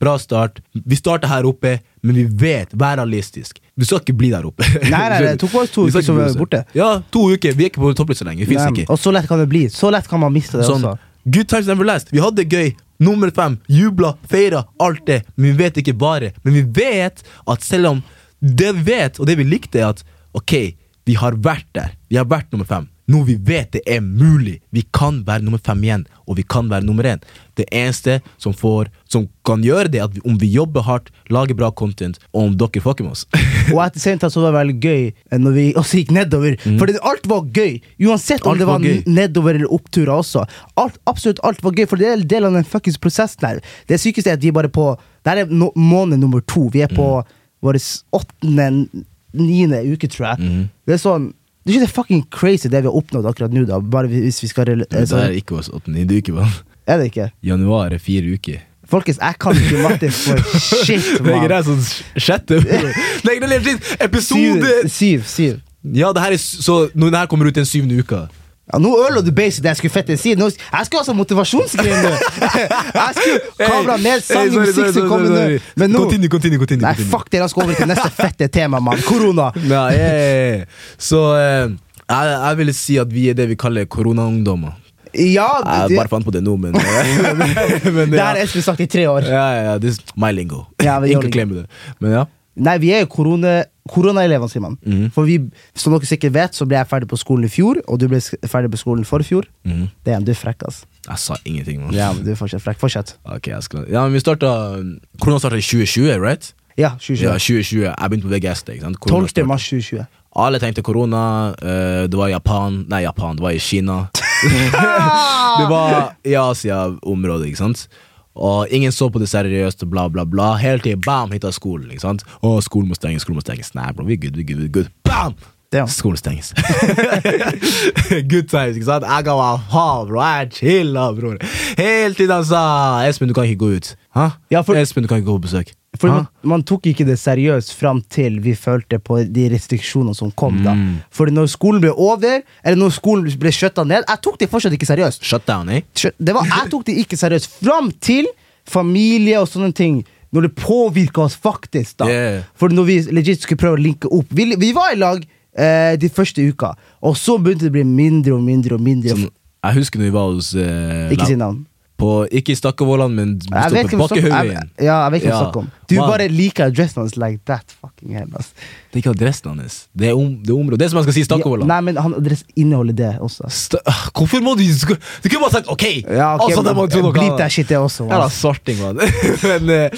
Speaker 1: bra start. Vi starter her oppe, men vi vet, vær realistisk. Du skal ikke bli der oppe.
Speaker 2: Nei, nei, det tok oss to
Speaker 1: Vi skal
Speaker 2: uker, så
Speaker 1: ikke bli
Speaker 2: vi er borte.
Speaker 1: Ja, to uker. Vi er ikke på topplista lenger. Vi finnes
Speaker 2: Nei,
Speaker 1: ikke.
Speaker 2: Og så lett kan det bli. Så lett kan man miste det
Speaker 1: Sånn,
Speaker 2: også.
Speaker 1: Good times never last. Vi hadde det gøy. Nummer fem. Jubla, feira, alt det. Men vi vet ikke bare. Men vi vet at selv om Det vi vet, og det vi likte, er at ok, vi har vært der. Vi har vært nummer fem. Noe vi vet det er mulig. Vi kan være nummer fem igjen, og vi kan være nummer én. Det eneste som, får, som kan gjøre det, er at vi, om vi jobber hardt, lager bra content, og om dere fucker med oss.
Speaker 2: Og etter sent så var det veldig gøy eh, når vi også gikk nedover. Fordi alt var gøy, uansett
Speaker 1: Mm.
Speaker 2: om
Speaker 1: Alt
Speaker 2: det var,
Speaker 1: var gøy.
Speaker 2: n- nedover eller oppturer også. Alt, absolutt alt var gøy, for det er en del av den fuckings prosessen her. Det sykeste er at vi er bare på Der er no, måned nummer to. Vi er på
Speaker 1: Mm.
Speaker 2: vår åttende, n- niende uke, tror jeg.
Speaker 1: Mm.
Speaker 2: Det er sånn det er ikke det fucking crazy det vi har oppnådd akkurat nå, da. Bare hvis vi skal rela- eh,
Speaker 1: det
Speaker 2: sånn-
Speaker 1: er ikke oss åttende i uke, mann.
Speaker 2: Er det ikke?
Speaker 1: Januar er fire uker.
Speaker 2: Folkens, jeg kan ikke matte for shit,
Speaker 1: Det er
Speaker 2: mann.
Speaker 1: greit, sånn sjette Nei, det er legit!
Speaker 2: Syv,
Speaker 1: Episode
Speaker 2: syv, syv.
Speaker 1: Ja, det her er s- så Når det her kommer ut den syvende uka
Speaker 2: Ja, nå ødela du basic det jeg skulle fette si. Nå, jeg skulle ha sånn motivasjonsgreie nå! Jeg skulle kabla ned sang, musikk som kommer nå. Men nå
Speaker 1: Continue, continue, continue
Speaker 2: Nei,
Speaker 1: continue.
Speaker 2: fuck det, la oss gå over til neste fette tema, mann. Korona.
Speaker 1: Nei, ja, ja, ja. Så eh, jeg, jeg ville si at vi er det vi kaller koronaungdommer
Speaker 2: Ja,
Speaker 1: Jeg
Speaker 2: det,
Speaker 1: bare fant på det nå, men, eh, men
Speaker 2: det her
Speaker 1: ja.
Speaker 2: har Espen sagt i tre
Speaker 1: Ja,
Speaker 2: år.
Speaker 1: ja, ja, this is my lingo
Speaker 2: Ja, vi gjør
Speaker 1: Ingen
Speaker 2: det.
Speaker 1: kan klemme det Men ja
Speaker 2: Nei, vi er jo korona, koronaelevene, sier man.
Speaker 1: Mhm.
Speaker 2: For vi, som dere sikkert vet, så ble jeg ferdig på skolen i fjor, og du ble s- ferdig på skolen forfjor.
Speaker 1: Mhm.
Speaker 2: Det er en du er frekk, ass.
Speaker 1: Jeg sa ingenting man.
Speaker 2: Ja, men du er fortsatt frekk. Fortsett.
Speaker 1: Ok, jeg skal Ja, men vi startet Korona startet i 2020, right?
Speaker 2: Ja,
Speaker 1: Ja,
Speaker 2: 2020.
Speaker 1: 2020 Jeg begynte på VGS det, ikke sant? Korona
Speaker 2: 12. mars 2020.
Speaker 1: Alle tenkte korona. eh, det var i Japan Nei, Japan, det var i Kina. det var i Asia-området, ikke sant? Og ingen så på det seriøst, og bla, bla, bla. Hele tiden, bam, hitta skolen. ikke sant? Å, skolen må stenges, skolen må stenges. Nei, bro, vi er good, vi er good. vi er good. Bam!
Speaker 2: Damn.
Speaker 1: Skolen stenges. good times, ikke sant? Jeg ga meg hav, bro. Jeg chilla, bror. Helt til han sa Espen, du kan ikke gå ut. Hæ?
Speaker 2: Ja, for-
Speaker 1: Espen, du kan ikke gå på besøk.
Speaker 2: For
Speaker 1: Hæ?
Speaker 2: man, man tok ikke det seriøst fram til vi følte på de restriksjonene som kom. da
Speaker 1: Mm.
Speaker 2: For når skolen ble over, eller når skolen ble skjøtta ned Jeg tok det fortsatt ikke seriøst.
Speaker 1: Shutdown, eh?
Speaker 2: Skjø- Det var, jeg tok det ikke seriøst Fram til familie og sånne ting. Når det påvirka oss faktisk. da
Speaker 1: Yeah.
Speaker 2: For når vi legit skulle prøve å linke opp Vi, vi var i lag eh, de første uka, og så begynte det å bli mindre og mindre. og mindre
Speaker 1: Som, jeg husker når vi var hos eh,
Speaker 2: Ikke
Speaker 1: lab-
Speaker 2: si navn.
Speaker 1: På, ikke i Stakkevollan, men
Speaker 2: Jeg vet ikke
Speaker 1: på
Speaker 2: hva du snakker jeg-
Speaker 1: Bakkehaugen.
Speaker 2: ja, jeg vet ikke hva du
Speaker 1: Ja.
Speaker 2: snakker om. Du
Speaker 1: Man,
Speaker 2: bare liker dressen hans like that. fucking hell ass.
Speaker 1: Det er ikke adressen hans. Det er, om, det er området. Det er som jeg skal si
Speaker 2: Ja,
Speaker 1: Stakkevollan.
Speaker 2: nei, men han adress inneholder det også.
Speaker 1: Sta- Ah, Hvorfor må du sk- Du kunne bare sagt OK!
Speaker 2: Ja, ok,
Speaker 1: altså, det må
Speaker 2: men-
Speaker 1: tro noe
Speaker 2: bleep
Speaker 1: annet.
Speaker 2: det shit, det også,
Speaker 1: Jævla
Speaker 2: ass.
Speaker 1: svarting, mann. men, eh,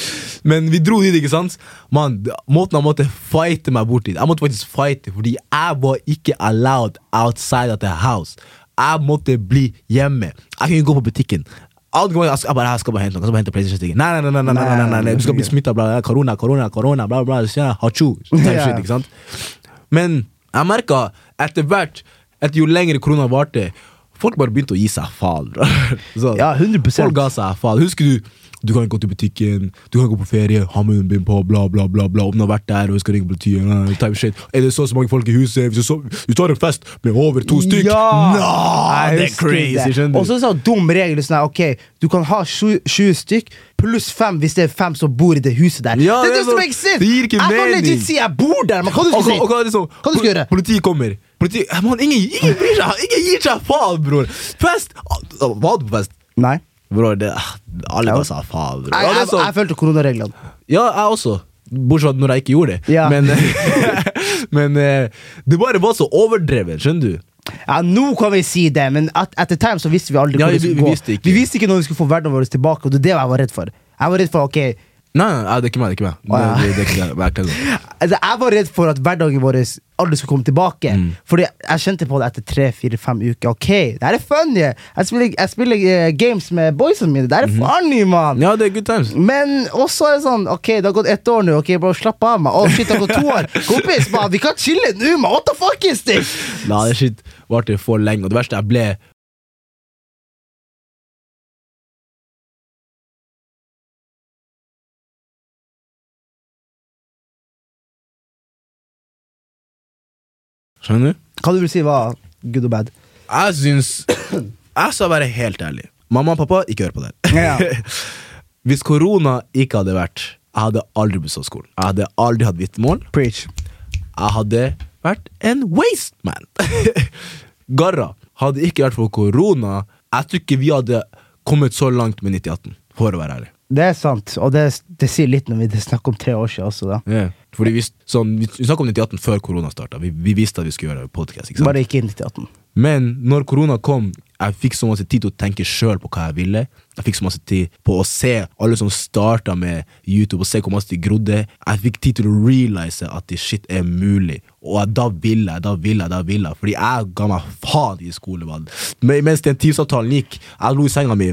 Speaker 1: men vi dro dit, ikke sant? Mann, d- måten han måtte fighte meg bort dit Jeg måtte faktisk fighte, fordi jeg var ikke allowed outside of the house. Jeg måtte bli hjemme. Jeg kunne ikke gå på butikken. Alt går- Jeg skal- jeg bare, jeg skal bare hente noe, jeg skal bare hente PlayStation-stikken. Nei, nei, nei, nei, nei, nei, nei, nei, nei, du skal bli smittet, bla, bla, korona, korona, korona, bla, bla, bla, hachu, type
Speaker 2: Ja.
Speaker 1: shit, ikke sant? Men jeg merka etter hvert, etter jo lengre korona varte, folk bare begynte å gi seg faen. bro. Så,
Speaker 2: Ja, 100%.
Speaker 1: Folk ga seg faen. Husker du du kan ikke gå til butikken, du kan ikke gå på ferie, ha med munnbind på, bla, bla, bla. bla Om du har vært der og vi skal ringe politiet nei, type shit. Er det så og så mange folk i huset? Hvis du, så, du tar en fest med over to stykk?
Speaker 2: Ja!
Speaker 1: Nå,
Speaker 2: Jeg
Speaker 1: det er
Speaker 2: husker
Speaker 1: crazy,
Speaker 2: det.
Speaker 1: skjønner
Speaker 2: Og
Speaker 1: du.
Speaker 2: så sa dum regel sånn her, ok, du kan ha sju, sju stykk pluss fem hvis det er fem som bor i det huset der.
Speaker 1: Ja,
Speaker 2: det,
Speaker 1: det er
Speaker 2: doesn't
Speaker 1: sånn-
Speaker 2: make sense!
Speaker 1: det gir ikke
Speaker 2: jeg kan
Speaker 1: mening.
Speaker 2: legit si jeg bor der, men hva du
Speaker 1: Og-
Speaker 2: skal
Speaker 1: og-
Speaker 2: si?
Speaker 1: og hva er sånn- det som-
Speaker 2: Hva du skal gjøre?
Speaker 1: Politiet kommer. Politiet, Eh, man, ingen, ingen bryr seg! Ingen gir seg faen, bror! Fest! Ah, Var du på fest?
Speaker 2: Nei.
Speaker 1: Bror, det, ah, alle bare sa faen. Bror.
Speaker 2: Jeg,
Speaker 1: Ja, det
Speaker 2: jeg,
Speaker 1: er
Speaker 2: jeg,
Speaker 1: sånn.
Speaker 2: følte koronareglene.
Speaker 1: Ja, jeg også. Bortsett fra når jeg ikke gjorde det.
Speaker 2: Ja.
Speaker 1: Men, men eh, det bare var så overdrevet, skjønner du.
Speaker 2: Ja, nå kan vi si det, men at, at the time så visste vi aldri
Speaker 1: Ja,
Speaker 2: hvor det
Speaker 1: vi-
Speaker 2: skulle
Speaker 1: vi
Speaker 2: gå.
Speaker 1: visste ikke.
Speaker 2: Vi visste ikke når vi skulle få hverdagen vår tilbake, og det er det jeg var redd for. Jeg var redd for, ok,
Speaker 1: Nei, nei, nei, det er ikke meg. det er ikke meg
Speaker 2: Å, ja.
Speaker 1: Nei, det, det er ikke meg, det er ikke meg.
Speaker 2: Altså, jeg var redd for at hverdagen vår aldri skulle komme tilbake.
Speaker 1: Mm.
Speaker 2: Fordi jeg kjente på det etter tre, fire, fem uker. Ok, det her er funny! Jeg spiller, jeg spiller eh, games med boysene mine. Det her er
Speaker 1: Mhm.
Speaker 2: funny, mann!
Speaker 1: Ja, det er good times.
Speaker 2: Men også er det sånn Ok, det har gått ett år nå. Ok, bare Slapp av, mann. Å, shit, det har gått to år. Kompis, mann, vi kan chille nå, mann! What the fuck is this?
Speaker 1: Nei, det shit varte for lenge. Og det verste, jeg ble Skjønner du?
Speaker 2: Hva du vil si var good og bad?
Speaker 1: Jeg syns Jeg skal være helt ærlig. Mamma og pappa, ikke hør på det.
Speaker 2: Ja.
Speaker 1: Hvis korona ikke hadde vært Jeg hadde aldri bestått skolen. Jeg hadde aldri hatt vitnemål.
Speaker 2: Preach.
Speaker 1: Jeg hadde vært en waste man. Garra. Hadde ikke vært for korona, jeg tror ikke vi hadde kommet så langt med 9018. For å være ærlig.
Speaker 2: Det er sant, og det, det sier litt når vi snakker om tre år siden også. da
Speaker 1: Fordi Vi, sånn, vi snakket om 9018 før korona starta. Vi, vi visste at vi skulle gjøre podkast.
Speaker 2: Bare ikke inn til 18.
Speaker 1: Men når korona kom, jeg fikk så masse tid til å tenke sjøl på hva jeg ville. Jeg fikk så masse tid på å se alle som starta med YouTube, og se hvor masse de grodde. Jeg fikk tid til å realize at det shit er mulig. Og jeg, da ville jeg, da ville jeg, da ville jeg. Fordi jeg ga meg faen i skolevalg. Men, mens den tidsavtalen gikk, jeg lå i senga mi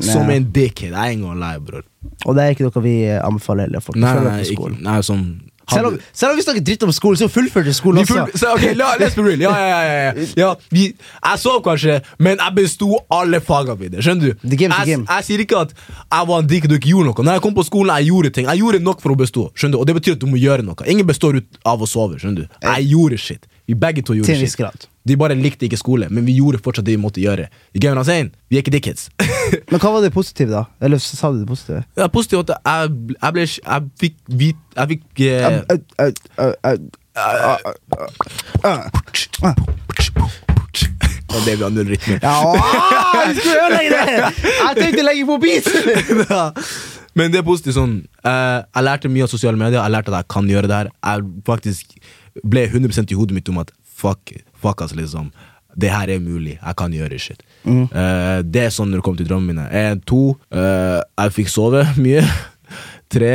Speaker 1: som en dickhead. Jeg er ikke gonna lie, bror.
Speaker 2: Og det er ikke noe vi anbefaler heller. folk
Speaker 1: Nei,
Speaker 2: Følg
Speaker 1: nei,
Speaker 2: dere til
Speaker 1: ikke,
Speaker 2: skolen.
Speaker 1: nei, sånn
Speaker 2: Selv om, selv om vi snakker dritt om skolen, så fullførte skolen
Speaker 1: Vi
Speaker 2: også.
Speaker 1: full, så, ok, la, let's be real. Ja, ja, ja, ja. ja vi, jeg sov kanskje, men jeg besto alle fagene mine. Skjønner du?
Speaker 2: The game's the
Speaker 1: jeg,
Speaker 2: game.
Speaker 1: jeg sier ikke at jeg var en dick og du ikke gjorde noe. Når jeg kom på skolen, jeg gjorde ting. Jeg gjorde nok for å bestå. Skjønner du? Og det betyr at du må gjøre noe. Ingen består ut av å sove. Skjønner du? Jeg gjorde shit. Vi begge to
Speaker 2: Til
Speaker 1: gjorde
Speaker 2: en viss
Speaker 1: shit.
Speaker 2: grad.
Speaker 1: De bare likte ikke skole, men vi gjorde fortsatt det vi måtte gjøre. You get what I'm saying? Vi er ikke dickheads.
Speaker 2: Men hva var det positive, da? Eller så sa du det positive?
Speaker 1: det er positivt at jeg, jeg ble Jeg fikk vit... Jeg fikk eh,
Speaker 2: Au, au, au, au.
Speaker 1: Og det vi har null rytme.
Speaker 2: Ja, åh, jeg skulle ødelegge det! Jeg tenkte legge på beat!
Speaker 1: Ja. Men det er positivt. sånn eh, Jeg lærte mye av sosiale medier. Jeg lærte at jeg kan gjøre det her. Jeg faktisk ble 100 i hodet mitt om at fuck, fuck ass, liksom. Det her er mulig. Jeg kan gjøre shit.
Speaker 2: Mm.
Speaker 1: Eh, det er sånn når det kommer til drømmene mine. En, to. eh, jeg fikk sove mye. Tre.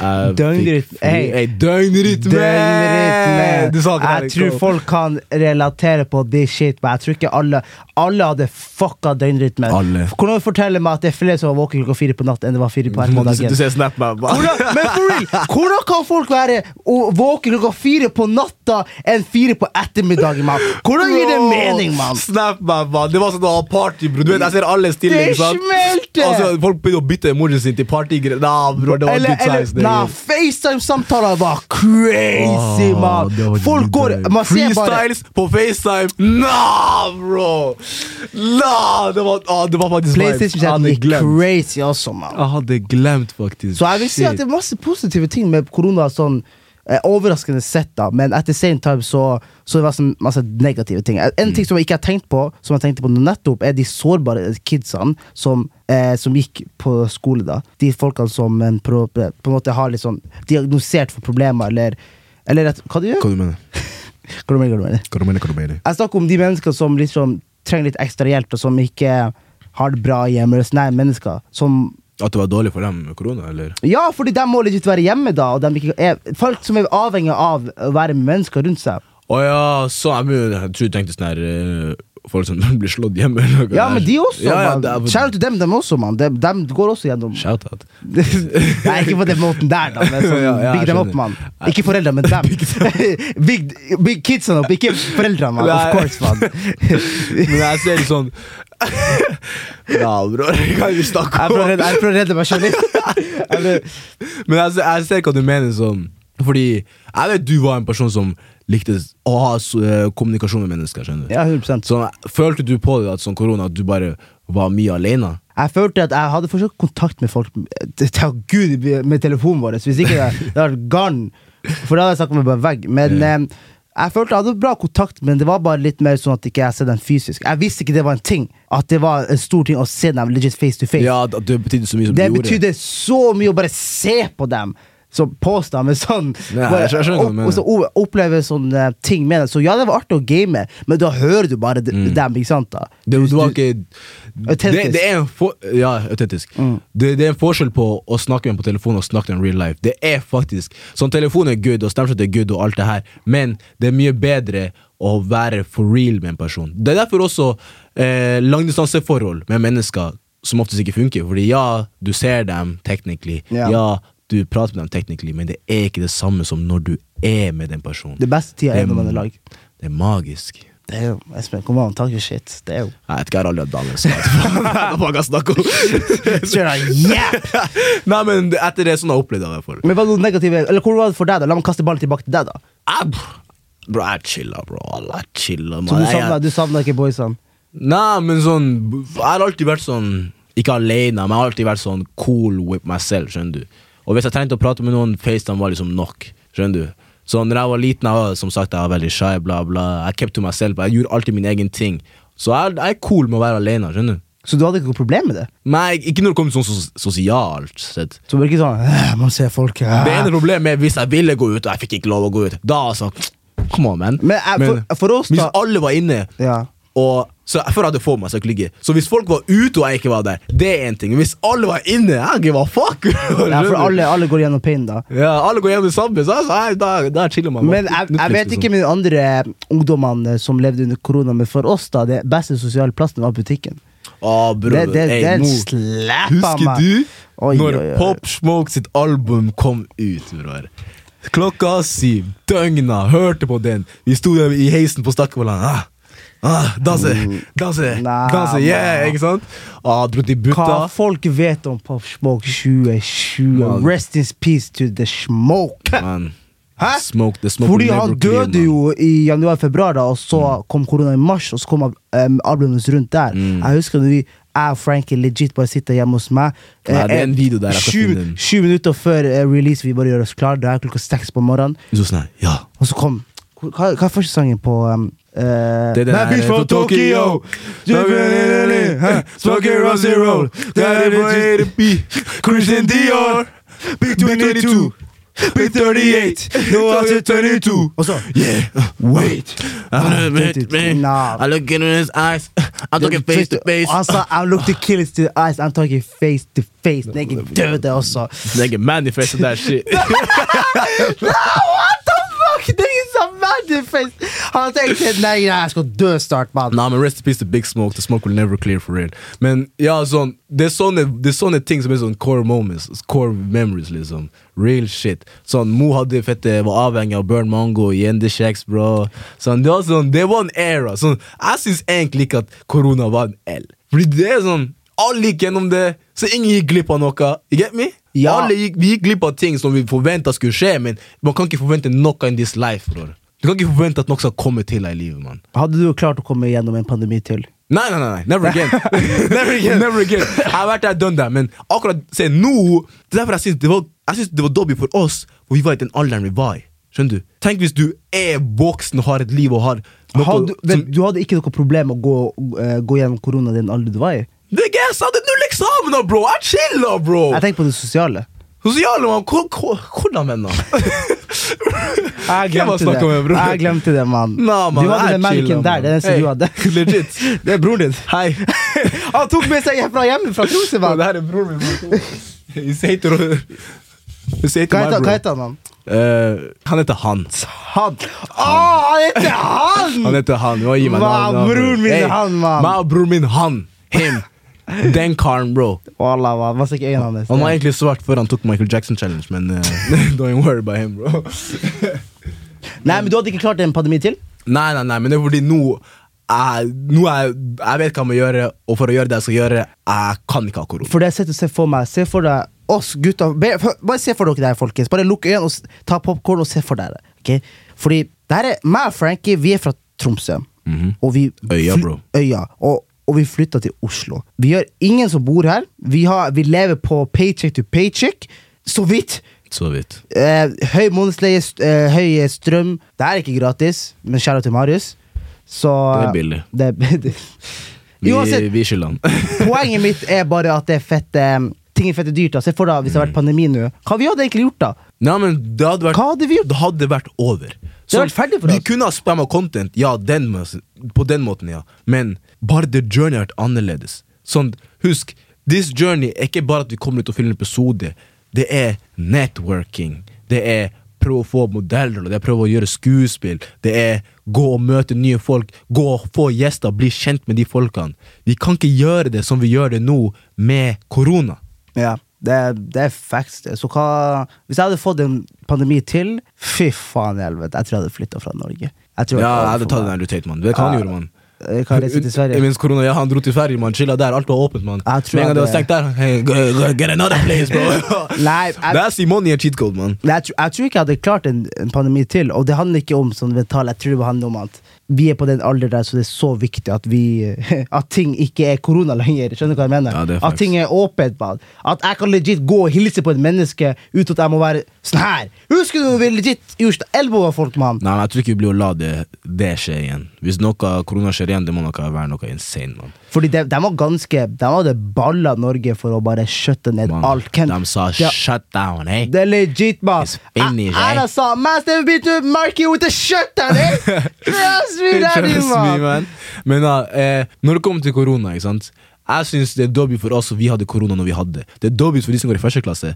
Speaker 1: jeg
Speaker 2: Døgnrytme.
Speaker 1: fikk fri-
Speaker 2: Hey.
Speaker 1: Hey, Døgnrytme!
Speaker 2: Døgnrytme.
Speaker 1: Du sa ikke det her,
Speaker 2: Jeg tror
Speaker 1: ikke?
Speaker 2: folk kan relatere på this shit, men jeg tror ikke alle Alle hadde fucka døgnrytmen.
Speaker 1: Alle.
Speaker 2: Hvordan forteller meg at det er flere som var våken klokka fire på natt enn det var fire på
Speaker 1: Du,
Speaker 2: ettermiddagen?
Speaker 1: du ser snap meg bare.
Speaker 2: Hvordan, men for real, hvordan kan folk være å- våken klokka fire på natta enn fire på ettermiddagen? Man? Hvordan gir det
Speaker 1: Bro,
Speaker 2: mening, mann?
Speaker 1: Snap meg, mann. Det var sånn å ha party, bro. Du vet, jeg ser alle stille,
Speaker 2: Det
Speaker 1: ikke sant?
Speaker 2: smelter!
Speaker 1: Altså, folk begynner å bytte emojien sin til partygreier. Nah, bro, det var
Speaker 2: Eller,
Speaker 1: good
Speaker 2: eller
Speaker 1: times. det,
Speaker 2: Nei,
Speaker 1: bro.
Speaker 2: FaceTime-samtaler var crazy,
Speaker 1: Åh,
Speaker 2: mann!
Speaker 1: det var
Speaker 2: Folk
Speaker 1: good
Speaker 2: går
Speaker 1: times.
Speaker 2: Man ser bare
Speaker 1: Freestyles på FaceTime. Nah, bro! Nah, det var, ah, det var faktisk vibes. Jeg
Speaker 2: PlayStation-chatten
Speaker 1: hadde
Speaker 2: gikk
Speaker 1: glemt.
Speaker 2: crazy også, mann.
Speaker 1: Jeg hadde glemt, faktisk.
Speaker 2: Så jeg vil si at det er masse positive ting med korona. sånn eh, Overraskende sett, da, men at the same time så, så det var sånn masse negative ting. En ting som jeg ikke har tenkt på, som jeg tenkte på nå nettopp, er de sårbare kidsene som, eh, som gikk på skole. da De folkene som en pro, på en måte har litt sånn diagnosert for problemer, eller, eller at, Hva du gjør
Speaker 1: Hva du mener
Speaker 2: Hva du? mener, Hva du mener?
Speaker 1: Hva du? mener, Hva du mener?
Speaker 2: Jeg snakker om de menneskene som liksom trenger litt ekstra hjelp, og som ikke har det bra hjemme. Eller sånne her mennesker som
Speaker 1: At det var dårlig for dem med korona, eller?
Speaker 2: ja, fordi de må litt ut være hjemme, da. Og de ikke er, folk som er avhengig av å være med mennesker rundt seg.
Speaker 1: Å ja, så jeg, mener- jeg tror du tenkte sånn her eh, Folk som blir slått hjemme. eller noe
Speaker 2: Ja,
Speaker 1: der.
Speaker 2: men de også,
Speaker 1: Ja, ja, det er-
Speaker 2: mann. Shout out til dem, dem også, mann. De, dem går også gjennom
Speaker 1: Shout-out.
Speaker 2: Nei, ikke på den måten der, da. Men
Speaker 1: Ja,
Speaker 2: sånn,
Speaker 1: ja, jeg
Speaker 2: big dem opp,
Speaker 1: skjønner.
Speaker 2: mann. Ikke foreldrene, men dem. big, big kidsa opp, ikke foreldrene, mann. Of
Speaker 1: Nei.
Speaker 2: course, mann.
Speaker 1: Men jeg ser litt sånn Ja, bror, vi kan ikke snakke
Speaker 2: Jeg
Speaker 1: om
Speaker 2: prøver å redde- jeg prøver å redde meg sjøl litt.
Speaker 1: Men jeg ser, jeg ser hva du mener sånn Fordi jeg vet du var en person som likte å ha så- eh, kommunikasjon med mennesker, skjønner du
Speaker 2: Ja, 100
Speaker 1: Sånn, følte du på det at sånn korona at du bare var mye alene?
Speaker 2: Jeg følte at jeg hadde fortsatt kontakt med folk til til- Gud med telefonen vår. Hvis ikke det, det hadde vært garn. For da hadde jeg snakket med bare vegg. Men eh, jeg følte jeg hadde bra kontakt, men det var bare litt mer sånn at ikke jeg så den fysisk. Jeg visste ikke det var en ting. At det var en stor ting å se dem legit face to face.
Speaker 1: Ja, at det betydde så mye som
Speaker 2: det
Speaker 1: du gjorde
Speaker 2: betydde så mye å bare se på dem. Så påstå med sånn
Speaker 1: Nei,
Speaker 2: bare,
Speaker 1: jeg skjønner hva du
Speaker 2: opp-
Speaker 1: mener.
Speaker 2: Og så o- oppleve sånne eh, ting med det. Så ja, det var artig å game, men da hører du bare d- dem, ikke sant? da
Speaker 1: Mm. Det, det var ikke
Speaker 2: Autentisk. Mm.
Speaker 1: Det, det er en for, ja, autentisk. Det, det er en forskjell på å snakke med en på telefon og snakke med en real life. Det er faktisk Sånn telefon er good, og Snapchat er good, og alt det her, men det er mye bedre å være for real med en person. Det er derfor også eh, langdistanseforhold med mennesker som oftest ikke funker. Fordi ja, du ser dem technically,
Speaker 2: Ja.
Speaker 1: ja, du prater med dem technically, men det er ikke det samme som når du er med den personen.
Speaker 2: Det beste tida er når
Speaker 1: Mm.
Speaker 2: man er lag.
Speaker 1: Det er magisk.
Speaker 2: Det er jo Espen, kom an, takk for shit. Det er jo
Speaker 1: Nei, Jeg vet ikke, jeg har aldri hatt dame. så jeg vet ikke hva man kan snakke om.
Speaker 2: Straight out, yeah!
Speaker 1: Nei, men etter det sånn har jeg opplevd det. i hvert fall.
Speaker 2: Men hva er det negative, eller Hvordan var det for deg, da? La meg kaste ballen tilbake til deg, da.
Speaker 1: Jeg- Bro, jeg chilla, bro. Alle er chilla,
Speaker 2: Så
Speaker 1: mann.
Speaker 2: du
Speaker 1: Jeg-
Speaker 2: savna, du savna ikke boysene?
Speaker 1: Nei, men sånn Jeg har alltid vært sånn Ikke alene, men jeg har alltid vært sånn cool with myself, skjønner du. Og hvis jeg trengte å prate med noen, FaceTime var liksom nok. Skjønner du? Så når jeg var liten, jeg var som sagt jeg var veldig shy, bla, bla. Jeg kept to myself. Jeg gjorde alltid min egen ting. Så jeg, jeg er cool med å være alene, skjønner du.
Speaker 2: Så du hadde ikke noe problem med det?
Speaker 1: Men jeg, ikke når det kommer til sånn sos sosialt sett.
Speaker 2: Så det var ikke sånn «Æ, Man ser folk æ».
Speaker 1: Det ene problemet er hvis jeg ville gå ut, og jeg fikk ikke lov å gå ut. Da altså, come on, man.
Speaker 2: Men, jeg- for- for oss
Speaker 1: hvis
Speaker 2: da-
Speaker 1: alle var inne,
Speaker 2: Ja.
Speaker 1: og så jeg føler at det får meg så ligge. Så hvis folk var ute og jeg ikke var der, det er én ting. Men hvis alle var inne, jeg give a fuck.
Speaker 2: Ja, for alle, alle går gjennom pain, da.
Speaker 1: ja, alle går hjem det samme, så altså, jeg, da, da chiller man.
Speaker 2: Men jeg, jeg vet
Speaker 1: liksom. sånn.
Speaker 2: ikke med de andre eh, ungdommene som levde under korona, men for oss, da, det beste sosiale plassen var butikken.
Speaker 1: Å, bro,
Speaker 2: Det, det,
Speaker 1: ey,
Speaker 2: den
Speaker 1: nå-
Speaker 2: slappa
Speaker 1: Husker
Speaker 2: meg.
Speaker 1: du
Speaker 2: Oi,
Speaker 1: når
Speaker 2: oi, oi.
Speaker 1: Pop Smoke sitt album kom ut, bror? Klokka syv, døgna, hørte på den. Vi sto der i heisen på Stakkevollan. Ah, ah, danse, danse,
Speaker 2: Mm. Nei,
Speaker 1: danse, yeah,
Speaker 2: men-
Speaker 1: ikke sant? Ah, dro til
Speaker 2: Hva
Speaker 1: butta.
Speaker 2: folk vet om Pop Smoke 2020?
Speaker 1: Man.
Speaker 2: Rest in peace to the smoke!
Speaker 1: Man,
Speaker 2: Hæ?
Speaker 1: Smoke, the smoke
Speaker 2: Fordi
Speaker 1: will
Speaker 2: han
Speaker 1: never clear,
Speaker 2: døde
Speaker 1: man. Mm.
Speaker 2: jo i januar-februar, da, og så kom korona i mars, og så kom um, albumet hans rundt der. Jeg husker når vi, jeg og Frankie legit bare sitter hjemme hos meg.
Speaker 1: Nei, det er en
Speaker 2: eh,
Speaker 1: video der jeg skal
Speaker 2: sju,
Speaker 1: finne den.
Speaker 2: sju minutter før eh, release, vi bare gjør oss klare. Det er klokka seks på morgenen.
Speaker 1: Så sånn her, ja.
Speaker 2: Og så kom Hva, hva er første sangen på um, eh,
Speaker 1: Det er den
Speaker 2: «My
Speaker 1: her,
Speaker 2: bitch
Speaker 1: eh,
Speaker 2: from
Speaker 1: fra Tokyo.
Speaker 2: Hæ?
Speaker 1: Smoking on zero. Daddy boy A to B. Christian Dior. Big 22. Big 38. No other 22.
Speaker 2: Og så
Speaker 1: Yeah, wait. I look at him.
Speaker 2: Nah. Ah.
Speaker 1: I look into his eyes. I'm talking face to face.
Speaker 2: Han sa I look the killers to the eyes, I'm talking face to face. Nigga døde også.
Speaker 1: Nigga manifested that shit.
Speaker 2: What the fuck? Nigga sa manifest! Han tenkte nei, nei, jeg skal dø snart, mann.
Speaker 1: Nah, men rest in peace to Big Smoke. The smoke will never clear for real. Men ja, sånn, det er sånne, det er sånne ting som er sånn core moments, core memories, liksom. Real shit. Sånn, Mo hadde fette, var avhengig av Burn Mango, Yende Shacks, bro. Sånn, det var sånn, det var en era. Sånn, jeg syns egentlig ikke at korona var en L. Fordi det er sånn, alle gikk gjennom det, så ingen gikk glipp av noe. You get me?
Speaker 2: Ja.
Speaker 1: Alle gikk, vi gikk glipp av ting som vi forventa skulle skje, men man kan ikke forvente noe in this life, bror. Du kan ikke forvente at noe skal komme til deg i livet, mann.
Speaker 2: Hadde du klart å komme gjennom en pandemi til?
Speaker 1: Nei, nei, nei, nei. Never again. never again. never again. Jeg har vært der, done that, men akkurat se, nå Det er derfor jeg syns det var, jeg synes det var dobby for oss, hvor vi var i den alderen vi var i. Skjønner du? Tenk hvis du er voksen og har et liv og har noe
Speaker 2: Hadde,
Speaker 1: som,
Speaker 2: vet, du hadde ikke noe problem med å gå, eh, gå gjennom korona i den alderen du var i?
Speaker 1: Nigga, Jeg sa det null eksamener, bro! Jeg chiller, bro!
Speaker 2: Jeg tenker på det sosiale.
Speaker 1: Sosiale mann, hvor- hvor- hvordan venner?
Speaker 2: Jeg
Speaker 1: Hvem har
Speaker 2: glemte
Speaker 1: snakket med,
Speaker 2: det,
Speaker 1: bror?
Speaker 2: jeg glemte det mann.
Speaker 1: Nah, man,
Speaker 2: du hadde
Speaker 1: jeg
Speaker 2: den melken
Speaker 1: chiller,
Speaker 2: der. Det er den som
Speaker 1: man.
Speaker 2: du hadde.
Speaker 1: Hey, legit.
Speaker 2: Det er broren din.
Speaker 1: Hei.
Speaker 2: Han tok med seg fra hjemme fra Tromsø,
Speaker 1: Bro,
Speaker 2: mann.
Speaker 1: det her er broren min. bro. He's hater. He's hater
Speaker 2: Hva
Speaker 1: my
Speaker 2: heter-
Speaker 1: bro.
Speaker 2: hva heter han, mann?
Speaker 1: Eh, han heter Hans.
Speaker 2: Han! Å, han heter
Speaker 1: Han
Speaker 2: han!
Speaker 1: heter han. Hva gir meg
Speaker 2: Hva,
Speaker 1: navn, navn, bro.
Speaker 2: broren min er
Speaker 1: Hey,
Speaker 2: han, mann.
Speaker 1: hva, broren min, han. Him. Den karen, bro.
Speaker 2: Wallah, mann. Hva sa ikke øynene
Speaker 1: Han var
Speaker 2: hans?
Speaker 1: egentlig svart før han tok Michael Jackson Challenge, men eh, don't worry about him, bro.
Speaker 2: Nei, men du hadde ikke klart en pandemi til?
Speaker 1: Nei, nei, nei, men det er fordi nå jeg, nå er, jeg vet hva jeg må gjøre, og for å gjøre det jeg skal gjøre, jeg kan ikke ha korona.
Speaker 2: For det jeg sitter og ser for meg, se for deg oss gutta Be- f- Bare se for dere det her, folkens. Bare lukk øynene og s- ta popkorn og se for dere. ok? Fordi det her er meg og Frankie, vi er fra Tromsø. Og vi
Speaker 1: Mhm. Øya,
Speaker 2: fly-
Speaker 1: bro.
Speaker 2: Øya. Og, og vi flytta til Oslo. Vi har ingen som bor her. Vi, har, vi lever på paycheck to paycheck. Så vidt.
Speaker 1: Så vidt.
Speaker 2: Eh, høy månedsleie, st eh, høy strøm. Det er ikke gratis, men kjære til Marius. Så
Speaker 1: Det er billig.
Speaker 2: Det er billig.
Speaker 1: Vi,
Speaker 2: Uansett,
Speaker 1: vi skylder han.
Speaker 2: poenget mitt er bare at det er fett eh, ting er fette dyrt. da. Se for deg hvis det hadde vært pandemi nå. Hva vi hadde egentlig gjort da?
Speaker 1: Nei, men det hadde vært,
Speaker 2: Hva hadde vi gjort?
Speaker 1: Det hadde vært over.
Speaker 2: hadde vært ferdig for
Speaker 1: vi
Speaker 2: oss.
Speaker 1: kunne ha spamma content, ja, den, mås- på den måten, ja. Men bare the journey har vært annerledes. Sånn, husk, this journey er ikke bare at vi kommer ut og fyller en episode. Det er networking. Det er prøve å få modeller, det er prøve å gjøre skuespill. Det er gå og møte nye folk, gå og få gjester, bli kjent med de folkene. Vi kan ikke gjøre det som vi gjør det nå, med korona.
Speaker 2: Ja, det, er- det er facts, det. Så hva Hvis jeg hadde fått en pandemi til, fy faen i helvete, jeg tror jeg hadde flytta fra Norge. Jeg tror
Speaker 1: Ja, jeg
Speaker 2: for
Speaker 1: hadde tatt
Speaker 2: meg.
Speaker 1: den der Lutate, mann. Du vet hva han
Speaker 2: Ja.
Speaker 1: gjorde, mann?
Speaker 2: eh, hva reiser til Sverige.
Speaker 1: Mens korona, ja, han dro til Sverige, man chilla der. Alt var åpent, man.
Speaker 2: Jeg tror
Speaker 1: Med en gang det var
Speaker 2: jeg
Speaker 1: stengt der, hey, go, go, get another place, bro.
Speaker 2: Nei, jeg-
Speaker 1: That's the money and cheat code, man.
Speaker 2: Nei, jeg, tror, jeg tror ikke jeg hadde klart en, en pandemi til, og det handler ikke om sånn mental, jeg tror det handler om at vi er på den alder der, så det er så viktig at vi At ting ikke er korona lenger. Skjønner du hva jeg mener?
Speaker 1: Ja, det er
Speaker 2: at ting er åpent. Man. At jeg kan legit gå og hilse på et menneske uten at jeg må være sånn her. Husker du når vi legit gjorde elbowa folk, mann?
Speaker 1: Nei, men Jeg tror ikke vi blir å la det, det skje igjen. Hvis noe korona skjer igjen, det må noe være noe insane, man.
Speaker 2: Fordi de, de var ganske De hadde balla Norge for å bare skjøtte ned
Speaker 1: Man,
Speaker 2: alt. Hvem-
Speaker 1: De sa
Speaker 2: Ja.
Speaker 1: shut down, hey.
Speaker 2: Det er legit, mann.
Speaker 1: It's finished, eh?
Speaker 2: Erna sa 'Master beat to mark you with a shutdown', eh? Trust me, daddy,
Speaker 1: Trust me,
Speaker 2: mann.
Speaker 1: man. Men ja, eh, når det kommer til korona, ikke sant Jeg syns det er dobby for oss, og vi hadde korona når vi hadde. Det er dobby for de som går i første klasse.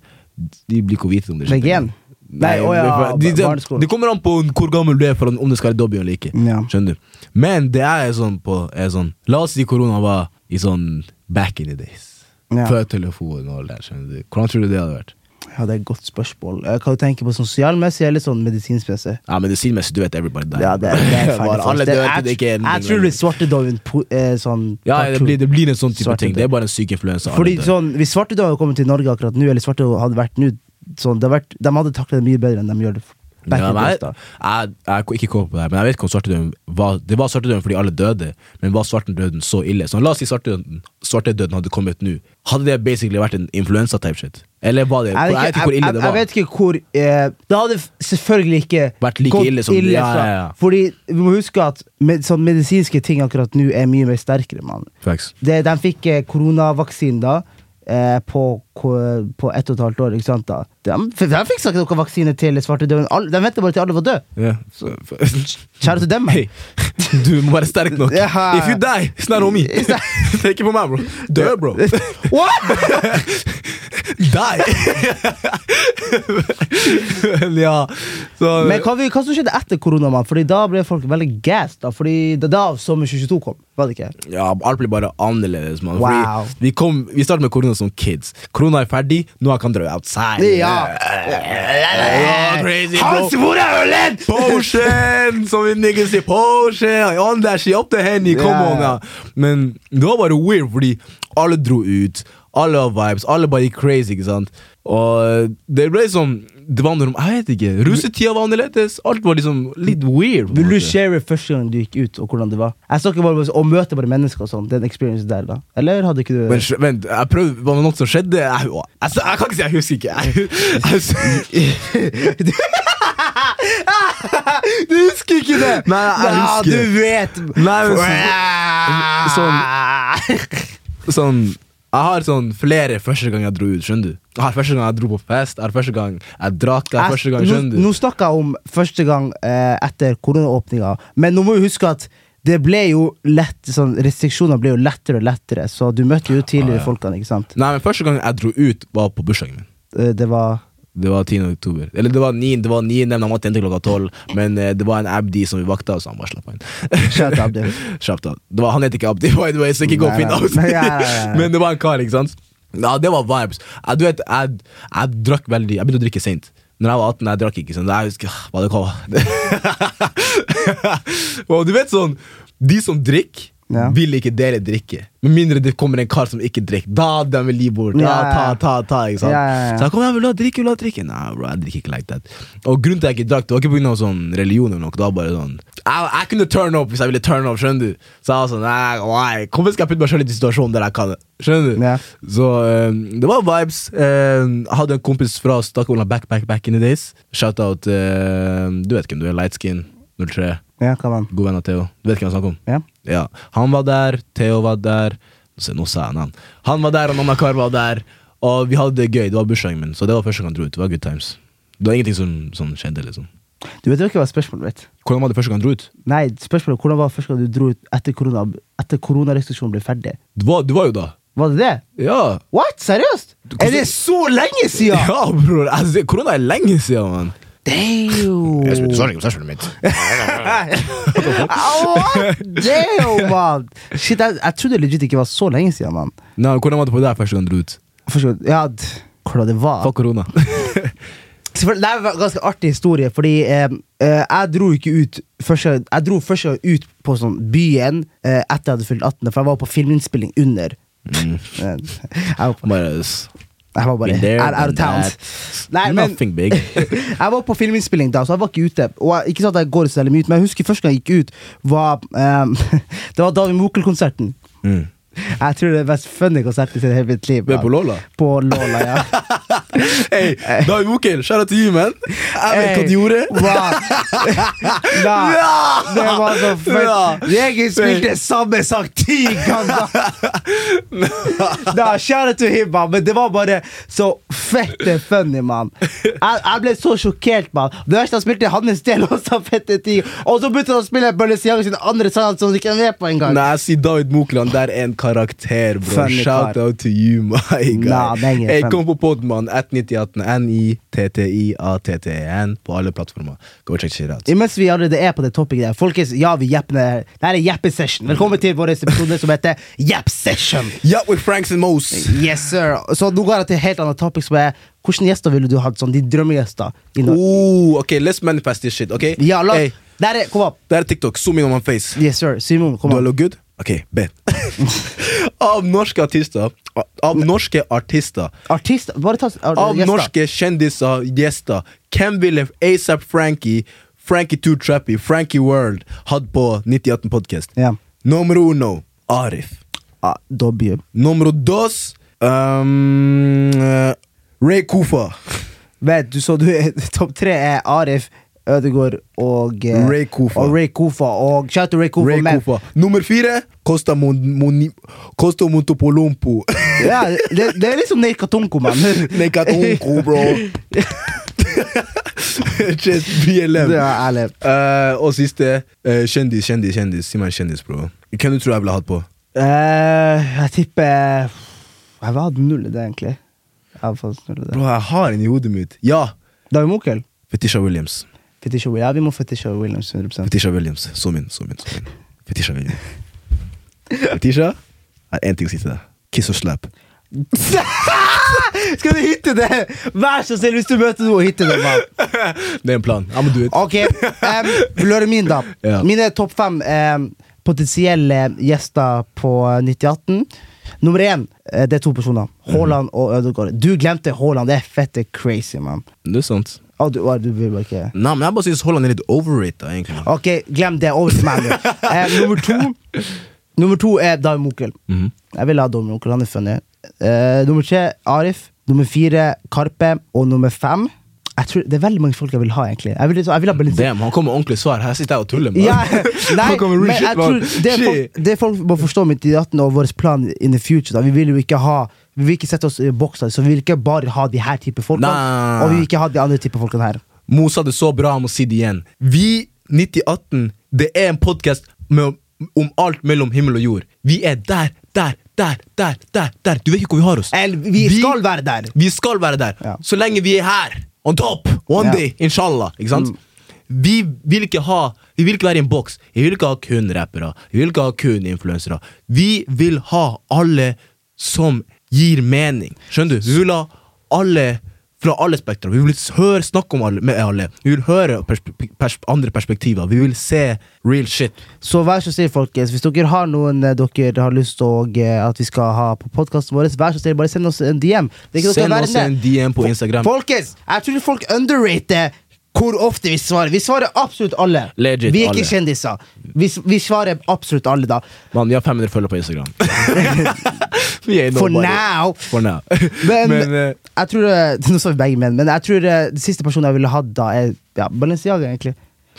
Speaker 1: De blir ikke å vite om det.
Speaker 2: Legg igjen. Nei, å ja,
Speaker 1: de, de,
Speaker 2: barneskolen.
Speaker 1: det kommer an på hvor gammel du er, for om det skal være dobby eller ikke.
Speaker 2: Ja.
Speaker 1: Skjønner du? Men det er sånn på er sånn, La oss si korona var i sånn back in the days.
Speaker 2: Ja.
Speaker 1: Før telefonen og alt der. skjønner du? Hvordan tror du det hadde vært?
Speaker 2: Ja, det er et godt spørsmål. Eh, Hva du tenker på sosialmessig eller sånn medisinmessig?
Speaker 1: Ja, Medisinmessig, du vet everybody died.
Speaker 2: Ja, det, det er
Speaker 1: Bare
Speaker 2: faktisk-
Speaker 1: Alle
Speaker 2: det-
Speaker 1: dør
Speaker 2: jeg-
Speaker 1: til det ikke er en
Speaker 2: Jeg tror det blir svartedauden po- eh, sånn
Speaker 1: Ja, det
Speaker 2: cartoon.
Speaker 1: blir, det blir en sånn type
Speaker 2: Svarte
Speaker 1: ting.
Speaker 2: død.
Speaker 1: Det er bare en syk influensa. alle
Speaker 2: Fordi
Speaker 1: dør.
Speaker 2: sånn, Hvis svartedauden kommer til Norge akkurat nå, eller svartedauden hadde vært nå sånn, det hadde vært, De hadde taklet det mye bedre enn de gjør det. Back
Speaker 1: Ja,
Speaker 2: in
Speaker 1: men
Speaker 2: days,
Speaker 1: jeg,
Speaker 2: da.
Speaker 1: jeg, jeg, ikke kom på det, her, men jeg vet ikke om svartedauden var Det var svartedauden fordi alle døde, men var svartedauden så ille? Så la oss si svartedauden, svartedauden hadde kommet nå. Hadde det basically vært en influensa-type shit? Eller var det Jeg, vet ikke hvor ille
Speaker 2: jeg,
Speaker 1: det var.
Speaker 2: jeg vet ikke hvor eh, Det hadde f- selvfølgelig ikke
Speaker 1: Vært like
Speaker 2: gått
Speaker 1: ille som- ja,
Speaker 2: fra-
Speaker 1: ja, ja.
Speaker 2: Fordi vi må huske at med, sånn medisinske ting akkurat nå er mye mer sterkere. Man.
Speaker 1: Facts.
Speaker 2: Det, de fikk eh, koronavaksinen da eh, på, ko- på ett og et halvt år. Ikke sant, da? De, for de fikk ikke noen vaksine til svartedauden. Alle- De venta bare til alle var døde.
Speaker 1: Ja.
Speaker 2: Kjære til dem.
Speaker 1: Hei, du må være sterk nok.
Speaker 2: Ja.
Speaker 1: If you die, it's not on me. Tenk på meg, bro. Dø, bro.
Speaker 2: What?!
Speaker 1: Die! Men ja, så
Speaker 2: Men hva, vi, hva som skjedde etter korona? man? Fordi Da ble folk veldig gassed. Da, fordi det er da sommer 2022 kom. Var det ikke?
Speaker 1: Ja, alt blir bare annerledes, mann. Fordi
Speaker 2: Wow.
Speaker 1: Vi, kom- vi startet med korona som kids. Korona er ferdig, nå jeg kan dra outside.
Speaker 2: Ja.
Speaker 1: Ja, crazy, bro.
Speaker 2: Hans, hvor er ølen?!
Speaker 1: Potion! Som vi niggas sier. Potion! On that shit, up the henny, come
Speaker 2: Ja.
Speaker 1: on! Ja. Men det var bare weird, fordi alle dro ut. Alle har vibes, alle bare gikk crazy, ikke sant? Og det ble som Det var noe, jeg vet ikke. Russetida var annerledes. Alt var liksom litt weird. på en
Speaker 2: Vil du
Speaker 1: måte.
Speaker 2: share første gang du gikk ut, og hvordan det var? Jeg snakker bare om å møte bare mennesker og sånn. Den experience der, da. Eller hadde ikke du
Speaker 1: Men sj- vent, jeg prøvde, var det noe som skjedde? Jeg, å, jeg, jeg kan ikke si jeg husker ikke. Jeg, jeg,
Speaker 2: Du husker ikke det!
Speaker 1: Nei, jeg husker
Speaker 2: Ja,
Speaker 1: det.
Speaker 2: du vet!
Speaker 1: Nei, men
Speaker 2: sånn
Speaker 1: sånn, jeg har sånn flere første gang jeg dro ut, skjønner du? Jeg har første gang jeg dro på fest, jeg har første gang jeg drakk, jeg har første gang, skjønner
Speaker 2: Nå,
Speaker 1: du?
Speaker 2: nå snakker jeg om første gang eh, etter koronaåpninga, men nå må vi huske at det ble jo lett, sånn, restriksjoner ble jo lettere og lettere, så du møtte jo tidligere
Speaker 1: Ah, ja.
Speaker 2: folkene, ikke sant?
Speaker 1: Nei, men første gang jeg dro ut var på bursdagen min.
Speaker 2: Eh, Det var
Speaker 1: Det var 10. oktober. Eller det var 9, det var 9, de måtte hente klokka 12, men eh, det var en Abdi som vi vakta, så han bare slapp av inn.
Speaker 2: Shout out, Abdi.
Speaker 1: Slapp av. Det var, han heter ikke Abdi, by the way, så ikke gå og
Speaker 2: Nei,
Speaker 1: finn
Speaker 2: nei.
Speaker 1: out.
Speaker 2: Nei, nei, nei, nei.
Speaker 1: Men det var en kar, ikke sant? Ja, det var vibes. Jeg, du vet, jeg, jeg drakk veldig Jeg begynte å drikke seint. Når jeg var 18, jeg drakk ikke sånn. Jeg husker, ah, hva det kom. Og du vet sånn De som drikker,
Speaker 2: Ja.
Speaker 1: vil ikke dele drikke. Med mindre det kommer en kar som ikke drikker. Da de vil gi bort. Ja,
Speaker 2: Ja, ja,
Speaker 1: ta,
Speaker 2: ja.
Speaker 1: ta, ta, ikke sant?
Speaker 2: Ja, ja, ja.
Speaker 1: Så jeg kom hjem, vil du ha drikke, vil du ha drikke? Nei, bro, jeg drikker ikke like that. Og grunnen til at jeg ikke drakk, det var ikke pga. Sånn religion eller noe. Det var bare sånn jeg, jeg kunne turn up hvis jeg ville turn up, skjønner du? Så jeg var sånn, nei, why? Hvorfor skal jeg putte meg selv i en situasjon der jeg kan det? Skjønner du?
Speaker 2: Ja.
Speaker 1: Så eh, det var vibes. Eh, jeg hadde en kompis fra Stakkevolda back, back, back in the days. Shout-out eh, Du vet hvem du er, Lightskin 03.
Speaker 2: Ja, hva var den?
Speaker 1: God venn av Theo. Du vet hvem jeg snakker om?
Speaker 2: Ja.
Speaker 1: Ja, han var der, Theo var der Se, nå sa jeg navn. Han var der, og Nanna Kar var der. Og vi hadde det gøy. Det var bursdagen min, så det var første gang jeg dro ut. Det var good times. Det var ingenting som, som skjedde, liksom.
Speaker 2: Du vet jo ikke hva spørsmålet mitt
Speaker 1: Hvordan var det første gang du dro ut?
Speaker 2: Nei, spørsmålet hvordan var første gang du dro ut etter korona Etter koronarestriksjonen ble ferdig?
Speaker 1: Du var, du var jo da.
Speaker 2: Var det det?
Speaker 1: Ja.
Speaker 2: What? Seriøst?
Speaker 1: Hvordan-
Speaker 2: Er det så lenge siden?!
Speaker 1: Ja, bror. Altså, korona er lenge siden, mann.
Speaker 2: Damn!
Speaker 1: sånn,
Speaker 2: What? Damn, man! Shit, jeg, jeg trodde legit ikke det var så lenge siden, mann.
Speaker 1: Nei, hvordan var det på deg første gang du dro ut?
Speaker 2: Første gang- Ja, d- hvordan det var
Speaker 1: Fuck korona.
Speaker 2: Selvfølgelig- Det er en ganske artig historie, fordi eh, eh, jeg dro ikke ut første, Jeg dro første gang ut på sånn byen eh, etter jeg hadde fylt 18, for jeg var på filminnspilling under. Eh, jeg, var på,
Speaker 1: Bare s-
Speaker 2: jeg var bare
Speaker 1: been there,
Speaker 2: out of
Speaker 1: done
Speaker 2: town.
Speaker 1: that.
Speaker 2: Nei, men,
Speaker 1: Nothing big.
Speaker 2: jeg var på filminnspilling da, så jeg var ikke ute. Og jeg, ikke sant at jeg går så veldig mye ut, men jeg husker første gang jeg gikk ut, var ehm, Det var David Mokel-konserten.
Speaker 1: Mm.
Speaker 2: Jeg tror det er den mest funny konserten i hele mitt liv.
Speaker 1: Vi er på
Speaker 2: man.
Speaker 1: Lola.
Speaker 2: På Lola, ja.
Speaker 1: Hey, David Mokel, kjære til you, man. Jeg vet hva du gjorde.
Speaker 2: Wow. da, det var så fett. Jeg spilte samme sang ti ganger! da, kjære til Hibba, men det var bare så fette funny, mann. Jeg, jeg ble så sjokkert, mann. Det verste han spilte hans del også, fette ting. Og så begynte han å spille Balenciaga sine andre sanger som han ikke er med på engang.
Speaker 1: Nei, jeg sier David Mokeland, det er en karakter, bro.
Speaker 2: Funny
Speaker 1: Shout
Speaker 2: kar.
Speaker 1: out to you, my
Speaker 2: Nah,
Speaker 1: guy.
Speaker 2: det er ingen
Speaker 1: hey,
Speaker 2: funny.
Speaker 1: kom på poden, mann. 1918. N-I-T-T-I-A-T-T-E-N E på alle plattformer. Go check shit out.
Speaker 2: Mens vi allerede er på det topicet der, folkens, ja, vi jepper her. Det her er Jeppe-session. Velkommen til vår episode som heter Jepp-session.
Speaker 1: Yeah, with Franks and Moes.
Speaker 2: Yes, sir. Så nå går jeg til et helt annet topic, som er hvilke gjester ville du hatt? Sånn, de drømmegjester? i Norge?
Speaker 1: Ooh, okay, let's manifest this shit, okay?
Speaker 2: Ja, la
Speaker 1: Hey,
Speaker 2: Der er Kom opp.
Speaker 1: det er TikTok. Zoom in on my face.
Speaker 2: Yes, sir. Simon, kom
Speaker 1: Du har
Speaker 2: opp.
Speaker 1: look good? Ok, bet. av norske artister Av norske artister
Speaker 2: Artist Bare ta ar
Speaker 1: Av
Speaker 2: gjester.
Speaker 1: norske kjendiser, gjester Hvem ville A$AP Frankie Frankie 2 Trappy, Frankie World Hatt på 9018 podcast
Speaker 2: Ja.
Speaker 1: Nummer uno, Arif
Speaker 2: Ah, W.
Speaker 1: Nummer dos um, eh, Ray Kufa
Speaker 2: Vet du, så du topp tre er Arif, Ødegaard og eh,
Speaker 1: Ray Kofa.
Speaker 2: Og Ray Kofa. Og shout to Ray Kofa.
Speaker 1: Ray
Speaker 2: men-
Speaker 1: Kufa Nummer fire, Costa, Mon Moni Costa Montopolompo
Speaker 2: Ja, det, det er liksom Nate Katonko, mann.
Speaker 1: Nekatonko, bro Just BLM
Speaker 2: Det er ærlig.
Speaker 1: Eh, og siste, eh, kjendis, kjendis, kjendis. Si meg en kjendis, bro. Hvem du tror jeg ville hatt på?
Speaker 2: Eh, jeg tipper Jeg var null i det, egentlig. Jeg har fått null i det.
Speaker 1: Bro, Jeg har en i hodet mitt. Ja!
Speaker 2: David Mokel.
Speaker 1: Fetisha Williams.
Speaker 2: Fetisha Williams. Ja, vi må Fetisha Williams 100
Speaker 1: Fetisha Williams. Så min, så min. Så min. Fetisha Williams. Fetisha er én ting å si til deg. Kiss og slap.
Speaker 2: Skal du hitte det? Vær så snill, hvis du møter noe, hitte det. mann.
Speaker 1: Det er en plan. I'm gonna do it.
Speaker 2: Ok, um, Løren min, da.
Speaker 1: Ja.
Speaker 2: Mine topp fem em, potensielle gjester på 9018. Nummer én, eh, det er to personer. Haaland og Ødegaard. Du glemte Haaland. Det er fette crazy, mann.
Speaker 1: Ah, Det er sant.
Speaker 2: Å, du, å, du vil bare ikke
Speaker 1: Nei, men jeg bare synes Holland er litt overrated, egentlig.
Speaker 2: Ok, glem det. Over til meg nå. Eh, nummer to Nummer to er David Mokel.
Speaker 1: Mhm.
Speaker 2: Jeg vil ha David Mokel, han er funny. Eh, nummer tre Arif. Nummer fire Karpe. Og nummer fem jeg tror, Det er veldig mange folk jeg vil ha, egentlig. Jeg vil, jeg vil ha Balenciaga.
Speaker 1: Damn, han kommer med ordentlig svar. Her sitter jeg og tuller. man.
Speaker 2: Ja, nei,
Speaker 1: han kommer
Speaker 2: men
Speaker 1: real shit,
Speaker 2: jeg tror
Speaker 1: man.
Speaker 2: det, folk,
Speaker 1: Shit.
Speaker 2: det folk må forstå med 18 og vår plan in the future da. Vi vil jo ikke ha Vi vil ikke sette oss i bokser, så vi vil ikke bare ha de her type folkene.
Speaker 1: Nei.
Speaker 2: Og vi vil ikke ha de andre type folkene her.
Speaker 1: Mo sa det så bra, jeg må si det igjen. Vi, 9018, det er en podkast om alt mellom himmel og jord. Vi er der, der, der, der, der. der. Du vet ikke hvor vi har oss.
Speaker 2: Eller, vi, skal være der!
Speaker 1: Vi skal være der.
Speaker 2: Ja.
Speaker 1: Så lenge vi er her. On top. One
Speaker 2: Ja. Mm.
Speaker 1: day. Inshallah. Ikke sant? Vi vil ikke ha Vi vil ikke være i en boks. Vi vil ikke ha kun rappere. Vi vil ikke ha kun influensere. Vi vil ha alle som gir mening. Skjønner du? Vi vil ha alle fra alle spektra. Vi vil høre snakke om alle, med alle. Vi vil høre perspe- pers andre perspektiver. Vi vil se real shit.
Speaker 2: Så vær så snill, folkens. Hvis dere har noen eh, dere har lyst til å, eh, at vi skal ha på podkasten vår, vær så snill, bare send oss en DM. Det er ikke noe
Speaker 1: Send
Speaker 2: å være
Speaker 1: oss en
Speaker 2: ned.
Speaker 1: DM på Instagram.
Speaker 2: Folkens, jeg tror folk underrater hvor ofte vi svarer. Vi svarer absolutt alle.
Speaker 1: Legit
Speaker 2: vi er ikke
Speaker 1: alle.
Speaker 2: kjendiser. Vi, s- vi svarer absolutt alle, da.
Speaker 1: Mann, vi har 500 følgere på Instagram. vi er
Speaker 2: For
Speaker 1: nobody.
Speaker 2: now.
Speaker 1: For now.
Speaker 2: Men,
Speaker 1: eh,
Speaker 2: jeg tror eh, Nå sa vi begge menn, men jeg tror eh, den siste personen jeg ville hatt da, er ja, Balenciaga, egentlig.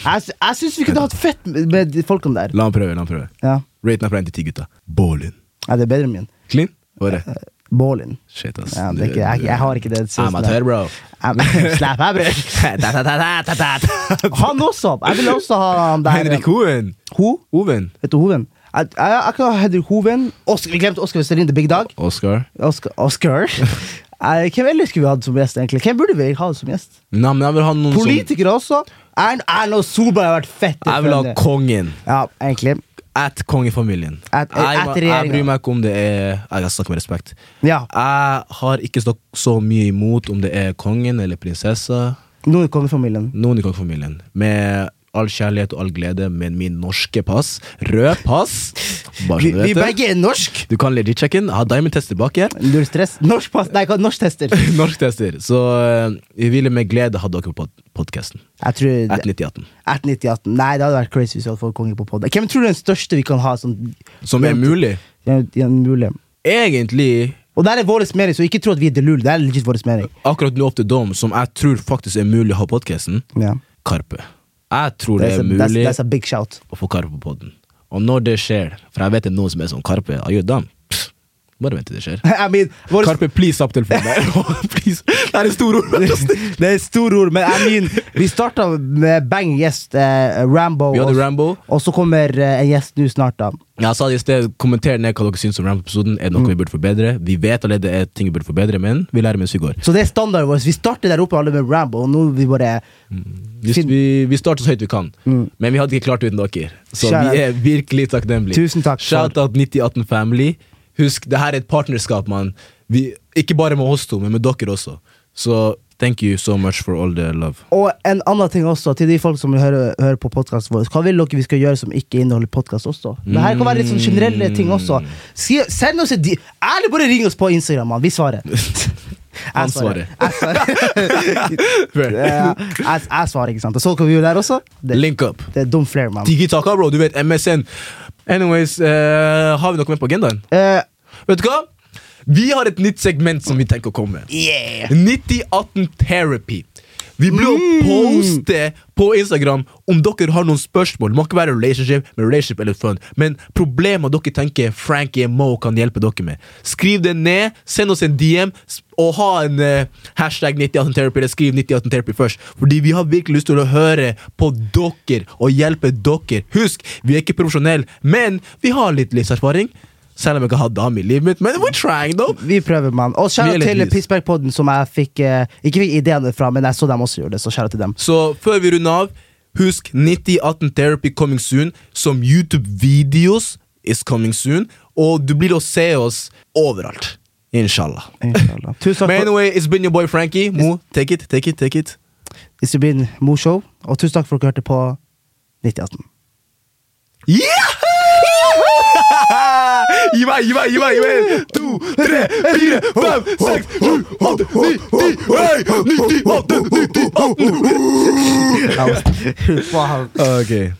Speaker 2: Jeg, s- jeg syns vi kunne hatt fett med, med de folkene der.
Speaker 1: La han prøve. la han prøve
Speaker 2: Ja.
Speaker 1: Raten er fra 1 til 10, gutta. Ballin.
Speaker 2: ja, det er bedre enn min.
Speaker 1: Clean? Var det?
Speaker 2: Ballin.
Speaker 1: Shit, ass.
Speaker 2: Ja, men det er ikke, jeg, jeg har ikke det.
Speaker 1: Amatør, bro.
Speaker 2: Ja, men Slapp av, bror. Han også. Jeg vil også ha han der.
Speaker 1: Henrik Hoven.
Speaker 2: Ho?
Speaker 1: Hoven.
Speaker 2: Vet du Hoven? Jeg, jeg, jeg kan ha Henrik Hoven. Oscar, vi glemte Oscar Westerin The Big Dag.
Speaker 1: Oscar.
Speaker 2: Oscar. Oscar. Eh, Hvem ellers skulle vi hatt som gjest? egentlig? Hvem burde vi ha som gjest?
Speaker 1: Nei, men jeg vil ha noen
Speaker 2: Politikere også. Erna Erna Solberg har vært fett.
Speaker 1: som Jeg vil ha
Speaker 2: funny.
Speaker 1: kongen.
Speaker 2: Ja, egentlig.
Speaker 1: At kongefamilien.
Speaker 2: At-
Speaker 1: jeg,
Speaker 2: at
Speaker 1: jeg
Speaker 2: regjeringen.
Speaker 1: bryr meg ikke om det er Jeg snakker med respekt.
Speaker 2: Ja.
Speaker 1: Jeg har ikke snak- så mye imot om det er kongen eller prinsessa.
Speaker 2: Noen i kongefamilien.
Speaker 1: Noen i kongefamilien. Med all kjærlighet og all glede, men min norske pass. Rød pass. Bare så
Speaker 2: Vi,
Speaker 1: du
Speaker 2: vi
Speaker 1: vet det.
Speaker 2: begge er norsk!
Speaker 1: Du kan legit-sjekke den. Ha Diamond Test tilbake.
Speaker 2: Null stress. Norsk pass, nei, hva, norsk tester.
Speaker 1: Norsk tester. Så eh, vi ville med glede ha dere på podkasten.
Speaker 2: Jeg tror
Speaker 1: At 9018.
Speaker 2: 1890-18. Nei, det hadde vært crazy hvis vi hadde fått konge på podden. Hvem tror du er den største vi kan ha? Sånn,
Speaker 1: Som er mulig.
Speaker 2: Ja, ja, mulig.
Speaker 1: Egentlig
Speaker 2: Og der er vår mening, så ikke tro at vi er delul. Det er legit vår mening.
Speaker 1: akkurat nå opp til dom, som jeg tror faktisk er mulig å ha podkasten,
Speaker 2: Ja.
Speaker 1: Karpe. Jeg tror det
Speaker 2: That's,
Speaker 1: er
Speaker 2: a, that's,
Speaker 1: mulig
Speaker 2: that's a big shout.
Speaker 1: å få Karpe på podden. Og når det skjer, for jeg vet det er noen som er sånn Karpe, are you done? Pff, Bare vent til det skjer.
Speaker 2: I mean, vår,
Speaker 1: Karpe, please, opp telefonen der. please. Det er et stort ord.
Speaker 2: det er store ord, men I mean, vi starta med bang gjest, eh, Rambo.
Speaker 1: Vi hadde
Speaker 2: og-
Speaker 1: Rambo.
Speaker 2: Og så kommer eh, en gjest nå snart, da.
Speaker 1: Jeg sa det i sted, kommenter ned hva dere syns om Ramp-episoden. Er det
Speaker 2: Mm.
Speaker 1: noe vi burde forbedre? Vi vet allerede det er ting vi burde forbedre, men vi lærer mens vi går.
Speaker 2: Så det er standarden vår. Vi starter der oppe alle med Rambo, og nå er vi bare
Speaker 1: Vi,
Speaker 2: Fin-
Speaker 1: vi, vi starter så høyt vi kan,
Speaker 2: Mm.
Speaker 1: men vi hadde ikke klart det uten dere. Så
Speaker 2: Shout out.
Speaker 1: vi er virkelig takknemlige.
Speaker 2: Tusen takk for-
Speaker 1: Shout out 9018 Family. Husk, det her er et partnerskap, mann. Vi- Ikke bare med oss to, men med dere også. Så thank you so much for all the love.
Speaker 2: Og en annen ting også, til de folk som hører, hører på podkasten vår. Hva vil dere vi skal gjøre som ikke inneholder podkast også? Det her kan være litt sånn generelle ting
Speaker 1: Mm.
Speaker 2: også. Skri, send oss et di- Ærlig, bare ring oss på Instagram, mann. Vi svarer.
Speaker 1: Han
Speaker 2: Jeg
Speaker 1: svarer.
Speaker 2: Jeg svarer. Ja, jeg, jeg svarer, ikke sant. Og så kan vi gjøre der også. Det,
Speaker 1: Link up.
Speaker 2: det er dum flair, mann.
Speaker 1: Tiki-taka, bro. Du vet MSN. Anyways, eh, har vi noe mer på agendaen?
Speaker 2: Eh,
Speaker 1: Vet du hva? Vi har et nytt segment som vi tenker å komme med.
Speaker 2: yeah!
Speaker 1: 9018 Therapy. Vi blir å poste på Instagram om dere har noen spørsmål. Det må ikke være relationship, men relationship eller fun. Men problemer dere tenker Frankie Mo kan hjelpe dere med. Skriv det ned, send oss en DM, s- og ha en eh, hashtag 9018 Therapy, eller skriv 9018 Therapy først. Fordi vi har virkelig lyst til å høre på dere og hjelpe dere. Husk, vi er ikke profesjonelle, men vi har litt livserfaring. Selv om jeg ikke har dame i livet mitt, men we're trying, though.
Speaker 2: Vi prøver, mann. Og
Speaker 1: Vi er
Speaker 2: kjære
Speaker 1: litt
Speaker 2: til
Speaker 1: lys.
Speaker 2: Pissbergpodden, som jeg fikk eh, ikke fikk ideene fra, men jeg så dem også gjøre det. Så kjære til dem.
Speaker 1: Så før vi runder av, husk 9018 Therapy coming soon. Som YouTube-videos is coming soon. Og du blir å se oss overalt. Inshallah.
Speaker 2: Inshallah. Tusen
Speaker 1: But
Speaker 2: takk for
Speaker 1: anyway, it's been your boy Frankie. Mo, take it, take it, take it.
Speaker 2: It's been Mo Show, og tusen takk for at dere hørte på 9018.
Speaker 1: Yeah! Gi meg, gi meg, gi meg! gi meg. To, tre, fire, fem, seks, sju, åtte, ni, ti, hei! 98, 98!
Speaker 2: That was- wow.
Speaker 1: Okay.